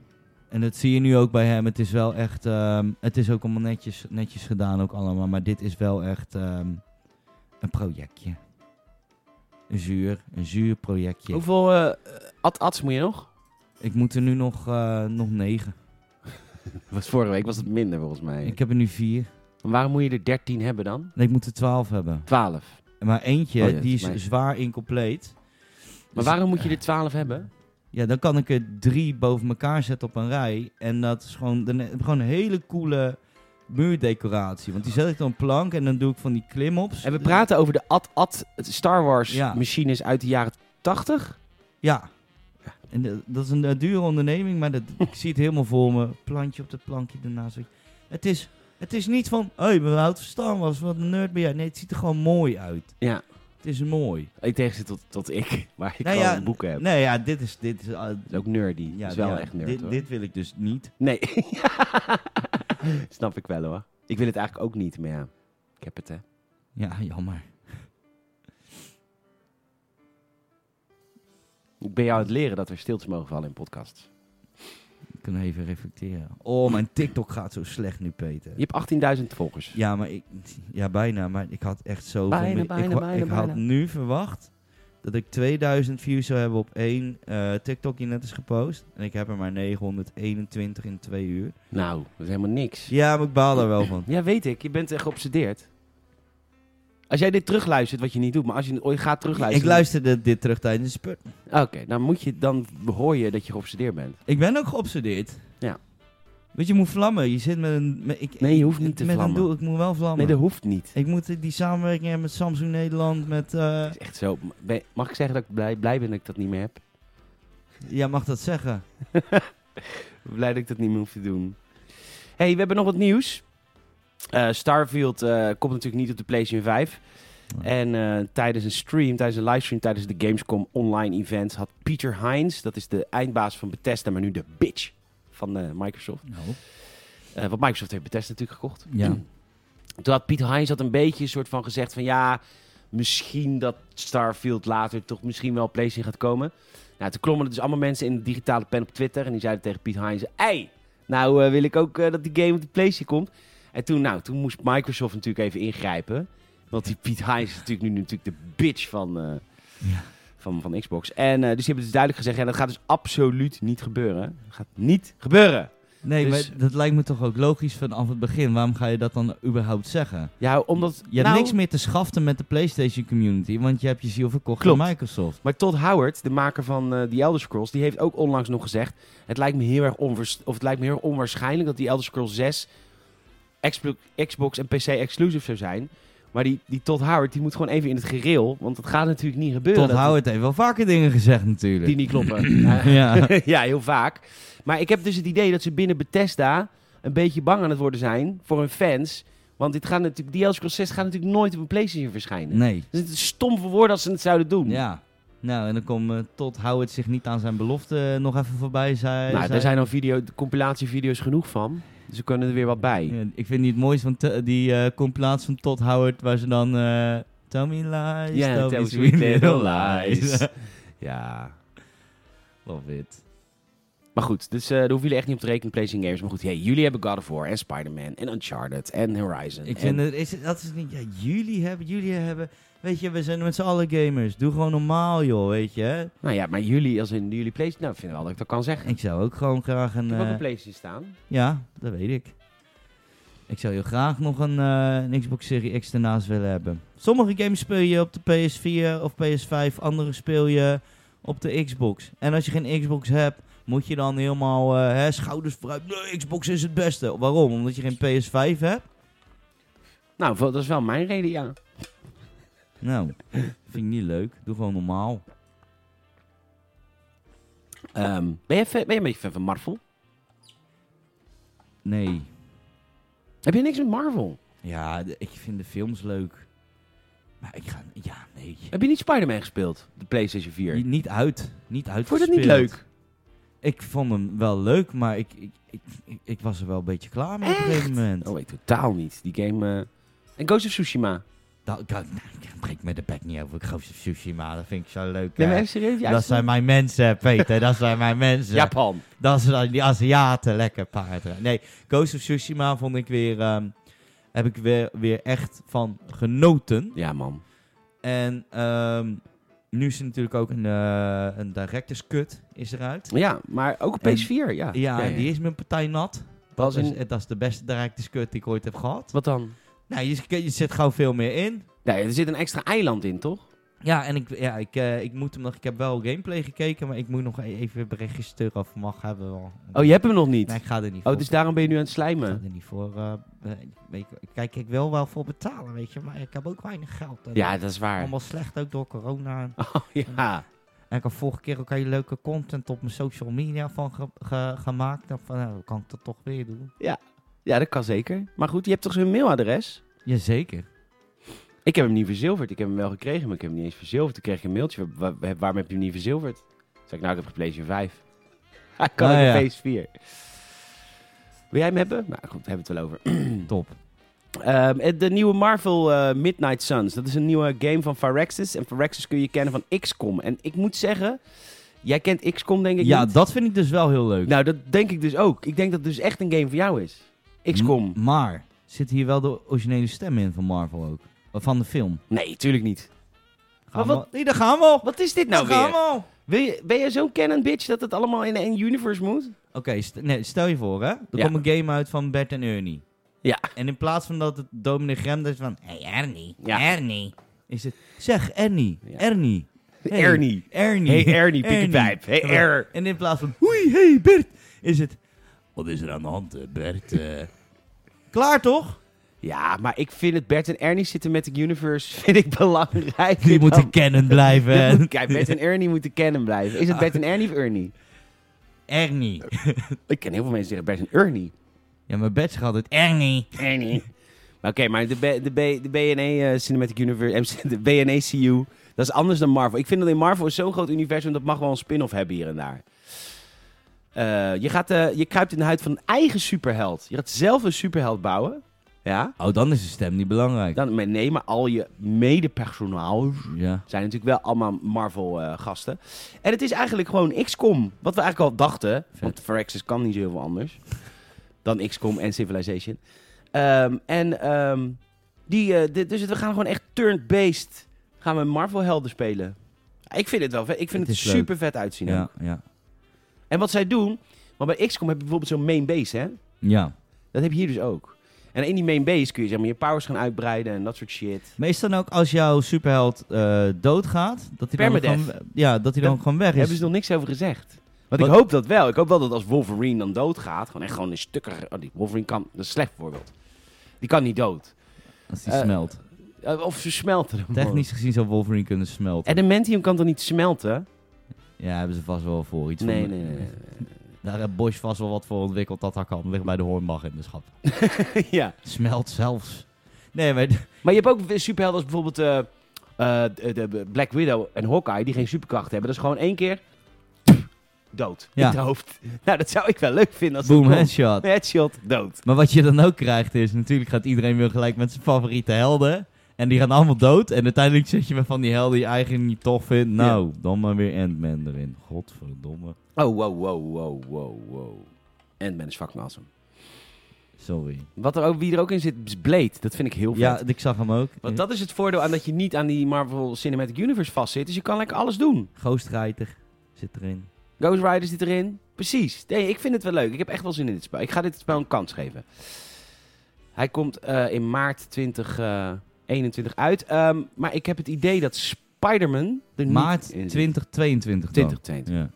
S2: En dat zie je nu ook bij hem. Het is wel echt. ehm, het is ook allemaal netjes, netjes gedaan, ook allemaal. Maar dit is wel echt ehm, een projectje. Een zuur, een zuur projectje.
S1: Hoeveel eh, ad ads moet je nog?
S2: Ik moet er nu nog, eh, nog negen.
S1: Was vorige week was het minder volgens mij.
S2: Ik heb er nu vier.
S1: En waarom moet je er 13 hebben dan?
S2: Nee, ik moet er twaalf hebben.
S1: 12.
S2: Maar eentje,
S1: Oh ja,
S2: die is
S1: maar-
S2: zwaar incompleet.
S1: Maar
S2: Dus-
S1: waarom moet je er 12 hebben?
S2: Ja, dan kan ik er drie boven elkaar zetten op een rij. En dat is gewoon, dan heb ik gewoon een hele coole muurdecoratie. Want die zet ik dan op plank en dan doe ik van die klimops.
S1: En we praten over de Ad-Ad Star Wars
S2: Ja.
S1: machines uit de jaren 80.
S2: Ja. En dat- dat is een eh, dure onderneming, maar dat, ik zie het helemaal voor me. Plantje op dat plankje daarnaast. Het is, het is niet van, hé, hey, mijn oud verstaan was, wat een nerd ben jij. Nee, het ziet er gewoon mooi uit.
S1: Ja.
S2: Het is mooi.
S1: Ik tegen zit tot, tot ik, waar ik
S2: Nou
S1: al
S2: ja,
S1: boeken heb.
S2: Nee, ja, dit is... Dit is, eh,
S1: Dat is ook nerdy.
S2: ja,
S1: dat is wel
S2: ja,
S1: echt nerd
S2: dit,
S1: hoor.
S2: dit wil ik dus niet.
S1: Nee. Snap ik wel hoor. Ik wil het eigenlijk ook niet, maar ja. Ik heb het hè.
S2: Ja, jammer.
S1: Ik ben jou aan het leren dat er stiltes mogen vallen in podcasts.
S2: Ik kan even reflecteren. Oh, mijn TikTok gaat zo slecht nu, Peter.
S1: Je hebt 18.000 volgers.
S2: Ja, maar ik, ja, bijna. Maar ik had echt zoveel.
S1: Bijna,
S2: meer- ik
S1: bijna,
S2: wa-
S1: bijna,
S2: Ik had
S1: bijna.
S2: nu verwacht dat ik 2000 views zou hebben op één eh, TikTok die net is gepost. En ik heb er maar 921 in twee uur.
S1: Nou, dat is helemaal niks.
S2: Ja, maar ik baal daar wel van.
S1: Ja, weet ik. Je bent echt geobsedeerd. Als jij dit terugluistert, wat je niet doet, maar als je het ooit gaat terugluisteren...
S2: Ik luisterde dit terug tijdens de spurt.
S1: Oké, dan, moet je, dan hoor je dat je geobsedeerd bent.
S2: Ik ben ook geobsedeerd.
S1: Ja.
S2: Want je moet vlammen. Je zit met een... Met, ik,
S1: Nee, je hoeft niet te
S2: met
S1: vlammen.
S2: Een doel. Ik moet wel vlammen.
S1: Nee, dat hoeft niet.
S2: Ik moet die samenwerking hebben met Samsung Nederland, met... eh,
S1: Het is echt zo. Ben- Mag ik zeggen dat ik blij, blij ben dat ik dat niet meer heb?
S2: ja, mag dat zeggen?
S1: Blij dat ik dat niet meer hoef te doen. hey, we hebben nog wat nieuws. Eh, Starfield eh, komt natuurlijk niet op de PlayStation 5.
S2: Nee.
S1: En eh, tijdens een stream, tijdens een livestream, tijdens de Gamescom online event... had Peter Hines, dat is de eindbaas van Bethesda, maar nu de bitch van eh, Microsoft...
S2: Nou,
S1: Eh, want Microsoft heeft Bethesda natuurlijk gekocht.
S2: ja.
S1: Toen had Piet Heinz had een beetje een soort van gezegd van ja, misschien dat Starfield later toch misschien wel op PlayStation gaat komen. Nou, toen klommen er dus allemaal mensen in de digitale pen op Twitter en die zeiden tegen Piet Heinz, hey, nou eh, wil ik ook eh, dat die game op de PlayStation komt. En toen, nou, toen moest Microsoft natuurlijk even ingrijpen, want die Piet Heinz is natuurlijk nu natuurlijk de bitch van, eh,
S2: Ja.
S1: van, van Xbox. En eh, dus die hebben dus duidelijk gezegd, ja, dat gaat dus absoluut niet gebeuren. Dat gaat niet gebeuren.
S2: Nee,
S1: Dus-
S2: maar dat lijkt me toch ook logisch vanaf het begin. Waarom ga je dat dan überhaupt zeggen?
S1: Ja, omdat...
S2: Je hebt
S1: nou,
S2: niks meer te schaften met de PlayStation community, want je hebt je ziel verkocht aan
S1: Klopt.
S2: Microsoft.
S1: Maar Todd Howard, de maker van eh The Elder Scrolls, die heeft ook onlangs nog gezegd: het lijkt me heel erg, onwaars- of het lijkt me heel erg onwaarschijnlijk dat die Elder Scrolls 6 Xbox- Xbox en PC exclusive zou zijn. Maar die, die Todd Howard die moet gewoon even in het gereel. Want dat gaat natuurlijk niet gebeuren.
S2: Tot
S1: dat
S2: Howard heeft wel vaker dingen gezegd
S1: Die
S2: natuurlijk.
S1: niet kloppen. Ja.
S2: Ja.
S1: ja, heel vaak. Maar ik heb dus het idee dat ze binnen Bethesda een beetje bang aan het worden zijn voor hun fans. Want dit gaat natuurlijk, die Elder Scrolls 6 gaat natuurlijk nooit op een PlayStation verschijnen.
S2: Nee.
S1: Dus het is stom voor woorden als ze het zouden doen.
S2: Ja. Nou, en dan komt tot Todd Howard zich niet aan zijn belofte eh, nog even voorbij. Zei,
S1: nou,
S2: zei-
S1: daar zijn al video, compilatievideo's genoeg van. Dus we kunnen er weer wat bij.
S2: Ja, ik vind die het mooiste van te- die eh compilatie van Todd Howard, waar ze dan... eh tell me lies,
S1: Ja,
S2: tell,
S1: tell
S2: me
S1: me
S2: sweet
S1: sweet
S2: little
S1: little
S2: lies.
S1: lies. Ja.
S2: Love it.
S1: Maar goed, dus eh, daar hoeven jullie echt niet op te rekenen, PlayStation Games. Maar goed, hey, jullie hebben God of War en Spider-Man en Uncharted en Horizon.
S2: Ik
S1: en-
S2: vind het, is, het- dat is niet... Ja, jullie hebben, jullie hebben... Weet je, we zijn met z'n allen gamers. Doe gewoon normaal, joh, weet je.
S1: Nou ja, maar jullie, als in jullie PlayStation... Nou, ik vind wel dat ik dat kan zeggen.
S2: Ik zou ook gewoon graag een...
S1: Ik heb ook
S2: eh,
S1: een PlayStation staan.
S2: Ja, dat weet ik. Ik zou heel graag nog een, eh, een Xbox Series X ernaast willen hebben. Sommige games speel je op de PS4 of PS5, andere speel je op de Xbox. En als je geen Xbox hebt, moet je dan helemaal eh, hè, schouders vooruit. Nee, Xbox is het beste. Waarom? Omdat je geen PS5 hebt?
S1: Nou, dat is wel mijn reden, ja.
S2: Nou, vind ik niet leuk. Doe gewoon normaal.
S1: Ehm, ben, je fan, ben je een beetje fan van Marvel?
S2: Nee.
S1: Heb je niks met Marvel?
S2: Ja, de- ik vind de films leuk. Maar ik ga... Ja, nee.
S1: Heb je niet Spider-Man gespeeld? De PlayStation 4.
S2: Niet- Niet uit. Niet uit.
S1: Vond je dat niet leuk?
S2: Ik vond hem wel leuk, maar ik, ik, ik, ik, ik was er wel een beetje klaar mee op een gegeven moment.
S1: Oh, ik totaal niet. Die game... eh, En Ghost of Tsushima.
S2: Nou, ik- nou, ik breek me de bek niet over. Ik geef ze sushi, maar dat vind ik zo leuk.
S1: Nee,
S2: hè.
S1: maar even serieus? Ja,
S2: dat zijn mijn mensen, Peter. dat zijn mijn mensen.
S1: Japan.
S2: Dat zijn die Aziaten. Lekker paardrijden. Nee, Ghost of Tsushima vond ik weer... ehm, heb ik weer, weer echt van genoten.
S1: Ja, man.
S2: En ehm, nu is er natuurlijk ook een, eh, een director's cut is eruit.
S1: Ja, maar ook op
S2: En-
S1: PS4, ja.
S2: Ja, en die is mijn partij nat.
S1: Pas
S2: Dat is,
S1: in...
S2: dat is de beste director's cut die ik ooit heb gehad.
S1: Wat dan?
S2: Nou, je, je zet gauw veel meer in.
S1: Nee, er zit een extra eiland in, toch?
S2: Ja, en ik, ja, ik, eh, ik moet hem nog. Ik heb wel gameplay gekeken, maar ik moet nog e- even berichtjes sturen of mag hebben. wel.
S1: Oh, je hebt hem nog niet?
S2: Nee, ik ga er niet
S1: Oh,
S2: voor.
S1: dus daarom ben je nu aan het
S2: ik ga
S1: slijmen.
S2: er niet voor. eh, eh, weet je, kijk, ik wil wel voor betalen, weet je, maar ik heb ook weinig geld. En
S1: Ja, dat is waar.
S2: Allemaal slecht ook door corona.
S1: Oh, ja.
S2: En ik heb vorige keer ook al leuke content op mijn social media van ge- ge- gemaakt. Dan van, nou, kan ik dat toch weer doen?
S1: Ja, dat kan zeker. Maar goed, je hebt toch zijn mailadres?
S2: Jazeker.
S1: Ik heb hem niet verzilverd. Ik heb hem wel gekregen, maar ik heb hem niet eens verzilverd. Toen kreeg ik een mailtje. Wa- wa- wa- waarom heb je hem niet verzilverd? Toen zei ik, nou, ik heb een PlayStation 5. Hij kan
S2: Ah,
S1: ook
S2: ja.
S1: een PS4. Wil jij hem hebben? Nou goed, daar hebben we het wel over.
S2: Top.
S1: Ehm, en de nieuwe Marvel eh, Midnight Suns. Dat is een nieuwe game van Firaxis. En Firaxis kun je kennen van XCOM. En ik moet zeggen, jij kent XCOM denk ik
S2: Ja,
S1: niet?
S2: dat vind ik dus wel heel leuk.
S1: Nou, dat denk ik dus ook. Ik denk dat het dus echt een game voor jou is. XCOM.
S2: M- maar zit hier wel de originele stem in van Marvel ook? Van de film?
S1: Nee, tuurlijk niet.
S2: Gaan
S1: Maar wat-
S2: we- Nee, daar gaan we al.
S1: Wat is dit nou
S2: Daar gaan
S1: weer?
S2: we al.
S1: Wil je, ben je zo'n canon bitch dat het allemaal in één universe moet?
S2: Oké, st- nee, stel je voor, hè? Er
S1: Ja.
S2: komt een game uit van Bert en Ernie.
S1: Ja.
S2: En in plaats van dat het Dominic Grem is van... Hé, hey, Ernie,
S1: Ja.
S2: Ernie. Is het... Zeg, Ernie,
S1: Ja.
S2: Ernie, Hey,
S1: Ernie.
S2: Ernie.
S1: Hey, Ernie, pik een
S2: Ernie.
S1: pijp. Hey, Er.
S2: En in plaats van... Hoi, hey, Bert. Is het... Wat is er aan de hand, eh, Bert? eh?" Klaar, toch?
S1: Ja, maar ik vind het Bert en Ernie zitten met de universe vind ik belangrijk.
S2: Die moeten
S1: Dan-
S2: kennen
S1: Dit moet-
S2: blijven.
S1: Kijk, Bert en Ernie moeten kennen blijven. Is het Bert en Ernie of Ernie?
S2: Ernie.
S1: Ik ken heel veel mensen die zeggen Bert en Ernie.
S2: Ja, maar Bert zegt altijd Ernie.
S1: Ernie. Maar Oké, maar de, B- de, B- de BNE eh, Cinematic Universe, eh, de BNE CU, dat is anders dan Marvel. Ik vind dat in Marvel is zo'n groot universum, dat mag wel een spin-off hebben hier en daar. Eh, je, gaat, eh, je kruipt in de huid van een eigen superheld. Je gaat zelf een superheld bouwen. Ja?
S2: Oh, dan is de stem niet belangrijk.
S1: Dan, maar nee, maar al je medepersonaal
S2: Ja.
S1: zijn natuurlijk wel allemaal Marvel-gasten. en het is eigenlijk gewoon XCOM. Wat we eigenlijk al dachten. Want Firaxis kan niet zo heel veel anders. dan XCOM en Civilization. Ehm, en ehm, die, eh, dit- dus het- we gaan gewoon echt turn-based. Gaan we Marvel-helden spelen. Ik vind het wel vet. Ik vind
S2: Het
S1: het,
S2: is leuk.
S1: super vet uitzien. ook.
S2: Ja, ja.
S1: En wat zij doen... Want bij XCOM heb je bijvoorbeeld zo'n main base, hè?
S2: Ja.
S1: Dat heb je hier dus ook. En in die main base kun je zeg maar, je powers gaan uitbreiden en dat soort shit.
S2: Maar is dan ook als jouw superheld eh, doodgaat, dat hij dan
S1: Permadeath.
S2: gewoon, ja, dat hij dan
S1: Dat
S2: gewoon weg
S1: Daar
S2: is?
S1: hebben ze nog niks over gezegd. Want
S2: Wat-
S1: ik hoop dat wel. Ik hoop wel dat als Wolverine dan doodgaat, gewoon echt gewoon een stukker. Oh, die Wolverine kan, dat is een slecht voorbeeld. Die kan niet dood.
S2: Als hij
S1: Eh,
S2: smelt.
S1: Eh, Of ze smelten hem gewoon.
S2: Technisch gezien zou Wolverine kunnen smelten.
S1: Adamantium kan toch niet smelten?
S2: Ja, hebben ze vast wel voor iets.
S1: Nee,
S2: van-
S1: nee, nee. nee.
S2: Daar heeft Bosch vast wel wat voor ontwikkeld dat dat kan. Ligt bij de hoornbach in de schap.
S1: ja.
S2: Smelt zelfs. Nee, maar d-
S1: Maar je hebt ook superhelden als bijvoorbeeld eh, eh, de- de Black Widow en Hawkeye, die geen superkracht hebben. Dat is gewoon één keer dood
S2: Ja.
S1: in het hoofd. Nou, dat zou ik wel leuk vinden als
S2: boom,
S1: dat komt.
S2: headshot.
S1: Headshot, dood.
S2: Maar wat je dan ook krijgt is, natuurlijk gaat iedereen weer gelijk met zijn favoriete helden. En die gaan allemaal dood. En uiteindelijk zit je met van die helden die je eigenlijk niet tof vindt. Nou, dan maar weer Ant-Man erin. Godverdomme.
S1: Oh, wow, wow, wow, wow, wow. Ant-Man is fucking awesome.
S2: Sorry.
S1: Wat er ook, wie er ook in zit, is Blade. Dat vind ik heel vet.
S2: Ja, ik zag hem ook.
S1: Want dat is het voordeel aan dat je niet aan die Marvel Cinematic Universe vastzit. Dus je kan lekker alles doen.
S2: Ghost Rider zit erin.
S1: Ghost Rider zit erin. Precies. Nee, ik vind het wel leuk. Ik heb echt wel zin in dit spel. Ik ga dit spel een kans geven. Hij komt eh, in maart 2021 uit. Ehm, maar ik heb het idee dat Spider-Man... er niet
S2: Maart
S1: in zit.
S2: 2022 dan.
S1: 2020.
S2: Ja.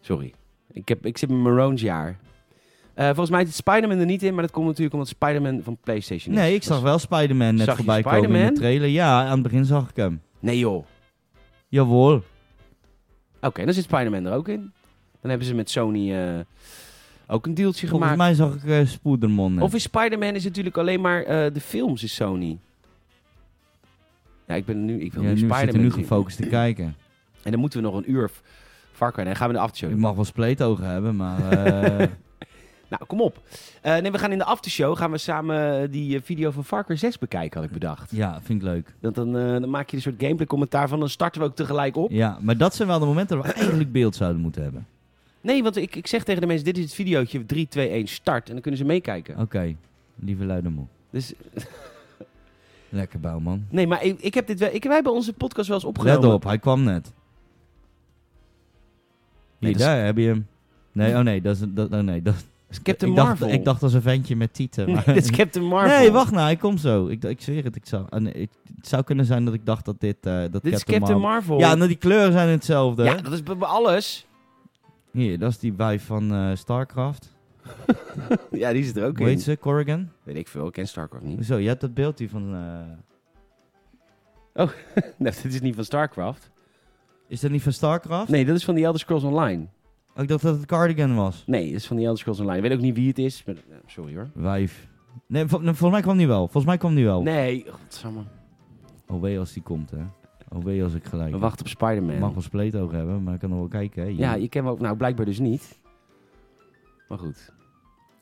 S1: Sorry. Ik, heb, ik zit met Maroons jaar. Eh, volgens mij zit Spider-Man er niet in. Maar dat komt natuurlijk omdat Spider-Man van PlayStation is.
S2: Nee, ik zag wel Spider-Man net
S1: Zag je
S2: voorbij komen in
S1: Spider-Man?
S2: de trailer. Ja, aan het begin zag ik hem.
S1: Nee joh.
S2: Jawohl.
S1: Oké, dan zit Spider-Man er ook in. Dan hebben ze met Sony eh, ook een deeltje
S2: Volgens
S1: gemaakt.
S2: mij zag ik eh Spoedermon. net.
S1: Of is Spider-Man is natuurlijk alleen maar eh, de films is Sony. Ja, ik ben nu, ik wil
S2: ja,
S1: nu
S2: nu zit er
S1: Spider-Man
S2: nu
S1: zien.
S2: gefocust te kijken.
S1: En dan moeten we nog een uur v- Far Cry. Nee, gaan we in de aftershow.
S2: Ik
S1: doen.
S2: mag wel spleetogen hebben, maar... eh,
S1: Nou, kom op. Eh, nee, we gaan in de aftershow gaan we samen eh, die eh, video van Far Cry 6 bekijken, had ik bedacht.
S2: ja, vind ik leuk.
S1: Want dan, eh, dan maak je een soort gameplay commentaar van, dan starten we ook tegelijk op.
S2: Ja, maar dat zijn wel de momenten waar we eigenlijk beeld zouden moeten hebben.
S1: Nee, want ik, ik zeg tegen de mensen, dit is het videootje, 3, 2, 1, start. En dan kunnen ze meekijken.
S2: Oké, lieve luidermoe.
S1: Dus
S2: Lekker bouwman.
S1: Nee, maar ik, ik heb dit wel, ik, wij hebben onze podcast wel eens
S2: Let
S1: opgenomen.
S2: op, hij kwam net. Hier,
S1: Nee, dat is-
S2: daar heb je hem. Nee, oh nee, dat is... Dat, oh nee, dat,
S1: Dus Captain
S2: ik,
S1: Marvel.
S2: Dacht, ik dacht als een ventje met tieten.
S1: Nee,
S2: maar-
S1: dit is Captain Marvel.
S2: Nee, wacht nou, ik kom zo. Ik, ik zweer het. Ik zou, ah, nee, ik- het zou kunnen zijn dat ik dacht dat dit... eh dat
S1: Dit is Captain Marvel.
S2: Ja, nou die kleuren zijn hetzelfde.
S1: Ja, dat is bij bij alles.
S2: Hier, dat is die wijf van eh, StarCraft.
S1: ja, die zit er ook
S2: Hoe heet
S1: in.
S2: ze? Corrigan?
S1: Weet ik veel, ik ken Starcraft niet.
S2: Zo, je hebt dat beeld hier van... eh,
S1: nee, dit is niet van Starcraft.
S2: Is dat niet van StarCraft?
S1: Nee, dat is van The Elder Scrolls Online.
S2: Oh, ik dacht dat het Cardigan was.
S1: Nee, dat is van The Elder Scrolls Online. Ik weet ook niet wie het is. maar- eh, sorry hoor.
S2: Wijf. Nee, vol- nee, volgens mij kwam die wel. Volgens mij kwam die wel.
S1: Nee, godsamme.
S2: Oh, wee als die komt, hè. Oh, wee als ik gelijk
S1: We
S2: heb.
S1: wachten op
S2: Ik mag
S1: Spider-Man.
S2: wel spleetoog hebben, maar ik kan nog wel kijken, hè.
S1: Ja, je kent hem ook. Nou, blijkbaar dus niet. Maar goed.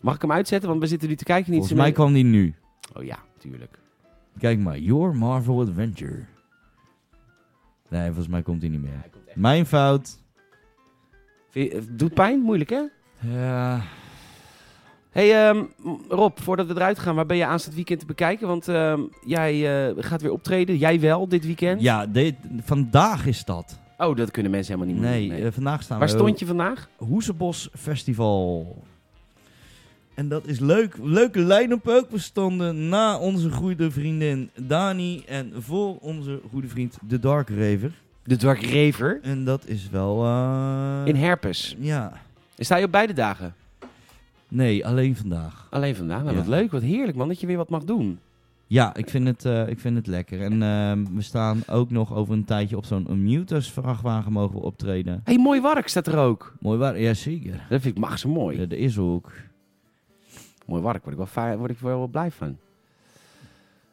S1: Mag ik hem uitzetten? Want we zitten nu te kijken. Niet
S2: Volgens
S1: zo
S2: mij kwam die nu.
S1: Oh ja, tuurlijk.
S2: Kijk maar, Your Marvel Adventure. Nee, volgens mij komt die niet meer. Mijn fout.
S1: Vind je- het doet pijn? Moeilijk hè?
S2: Ja.
S1: Hey ehm, m- Rob, voordat we eruit gaan, waar ben je aanstaand weekend te bekijken? Want ehm, jij eh, gaat weer optreden, jij wel dit weekend.
S2: Ja, dit, vandaag is dat.
S1: Oh, dat kunnen mensen helemaal niet meer.
S2: Nee,
S1: doen,
S2: eh, vandaag staan
S1: Waar
S2: we...
S1: stond je vandaag?
S2: Hoesebos Festival. En dat is leuk. Leuke line-up ook. We stonden na onze goede vriendin Dani en voor onze goede vriend de Dark Raver.
S1: De Dark Raver.
S2: En dat is wel... eh,
S1: In Herpes.
S2: Ja.
S1: Sta je op beide dagen?
S2: Nee, alleen vandaag.
S1: Alleen vandaag. Nou,
S2: Ja.
S1: wat leuk, wat heerlijk man, dat je weer wat mag doen.
S2: Ja, ik vind het, eh, ik vind het lekker. En ehm, we staan ook nog over een tijdje op zo'n Unmutus vrachtwagen mogen we optreden.
S1: hey, mooi wark staat er ook.
S2: Mooi waar? Ja, zeker.
S1: Dat vind ik mag zo mooi.
S2: Ja, dat is ook.
S1: Mooi wark, word ik wel, fi- word ik wel blij van.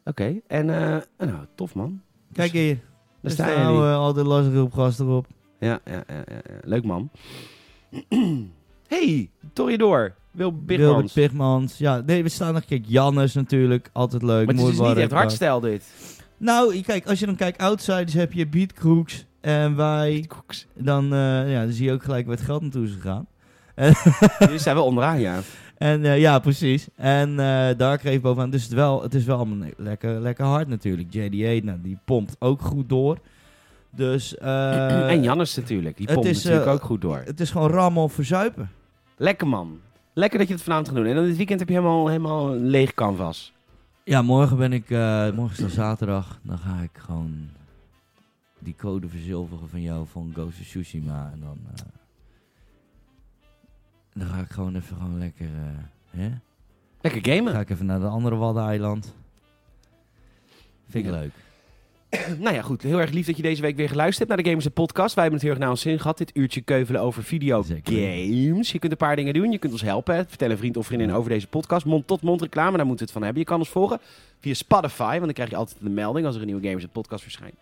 S1: Oké, en eh, nou, tof man.
S2: Kijk hier.
S1: Daar
S2: Daar
S1: sta
S2: staan
S1: je
S2: nou,
S1: nu.
S2: eh, al de lastige op gast erop.
S1: Ja, ja, ja, ja, ja. leuk man. hey, Torridor. Wil
S2: Wilde
S1: Bigmans.
S2: Pigmans. Ja, nee, we staan nog. Kijk, Jannes natuurlijk. Altijd leuk.
S1: Maar het is
S2: mooi
S1: dus niet
S2: warm.
S1: echt hardstijl dit.
S2: Nou, je- kijk, als je dan kijkt, outsiders heb je Beat Crooks. En wij, dan, eh, ja, dan zie je ook gelijk waar het geld naartoe is gegaan.
S1: Jullie zijn wel onderaan, ja.
S2: En eh, ja, precies. En eh Dark Rave bovenaan. Dus het, wel, het is wel allemaal ne- lekker, lekker hard natuurlijk. JD8, nou, die pompt ook goed door. Dus eh,
S1: en Jannes natuurlijk. Die
S2: het
S1: pompt
S2: is,
S1: natuurlijk
S2: eh,
S1: ook goed door.
S2: het is gewoon rammen of verzuipen.
S1: Lekker man. Lekker dat je het vanavond gaat doen. En dan dit weekend heb je helemaal, helemaal een leeg canvas.
S2: Ja, morgen ben ik, eh, morgen is dan zaterdag, dan ga ik gewoon die code verzilveren van jou van Ghost of Tsushima en dan, eh, dan ga ik gewoon even gewoon lekker, eh, hè?
S1: Lekker
S2: Dan
S1: gamen.
S2: ga ik even naar de andere Waddeneiland. Vind ik
S1: Ja.
S2: leuk.
S1: Nou ja, goed. Heel erg lief dat je deze week weer geluisterd hebt naar de Gamers en Podcast. Wij hebben het heel erg naar ons zin gehad. Dit uurtje keuvelen over
S2: Zeker.
S1: videogames. Je kunt een paar dingen doen. Je kunt ons helpen. hè. Vertel een vriend of vriendin over deze podcast. Mond-tot-mond reclame, daar moeten we het van hebben. Je kan ons volgen via Spotify, want dan krijg je altijd een melding als er een nieuwe Gamers en Podcast verschijnt.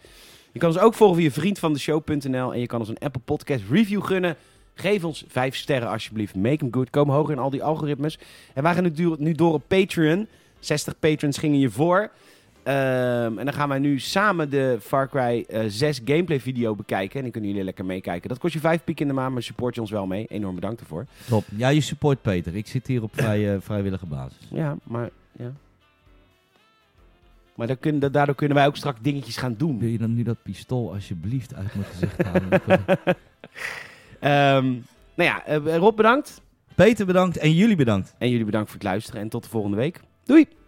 S1: Je kan ons ook volgen via vriendvandeshow.nl en je kan ons een Apple Podcast review gunnen. Geef ons vijf sterren alsjeblieft. Make them good. Kom hoger in al die algoritmes. En wij gaan nu, du- nu door op Patreon. 60 patrons gingen je voor. Ehm, en dan gaan wij nu samen de Far Cry eh, 6 gameplay video bekijken. En dan kunnen jullie lekker meekijken. Dat kost je 5 piek in de maand, maar support je ons wel mee. Enorm bedankt daarvoor.
S2: Top. Ja, je support Peter. Ik zit hier op vrij, eh, vrijwillige basis.
S1: Ja, maar... Ja. Maar daar kunnen- da- daardoor kunnen wij ook straks dingetjes gaan doen.
S2: Wil je dan nu dat pistool alsjeblieft uit mijn gezicht halen?
S1: Ehm, nou ja, eh, Rob bedankt.
S2: Peter bedankt en jullie bedankt.
S1: En jullie bedankt voor het luisteren. En tot de volgende week. Doei!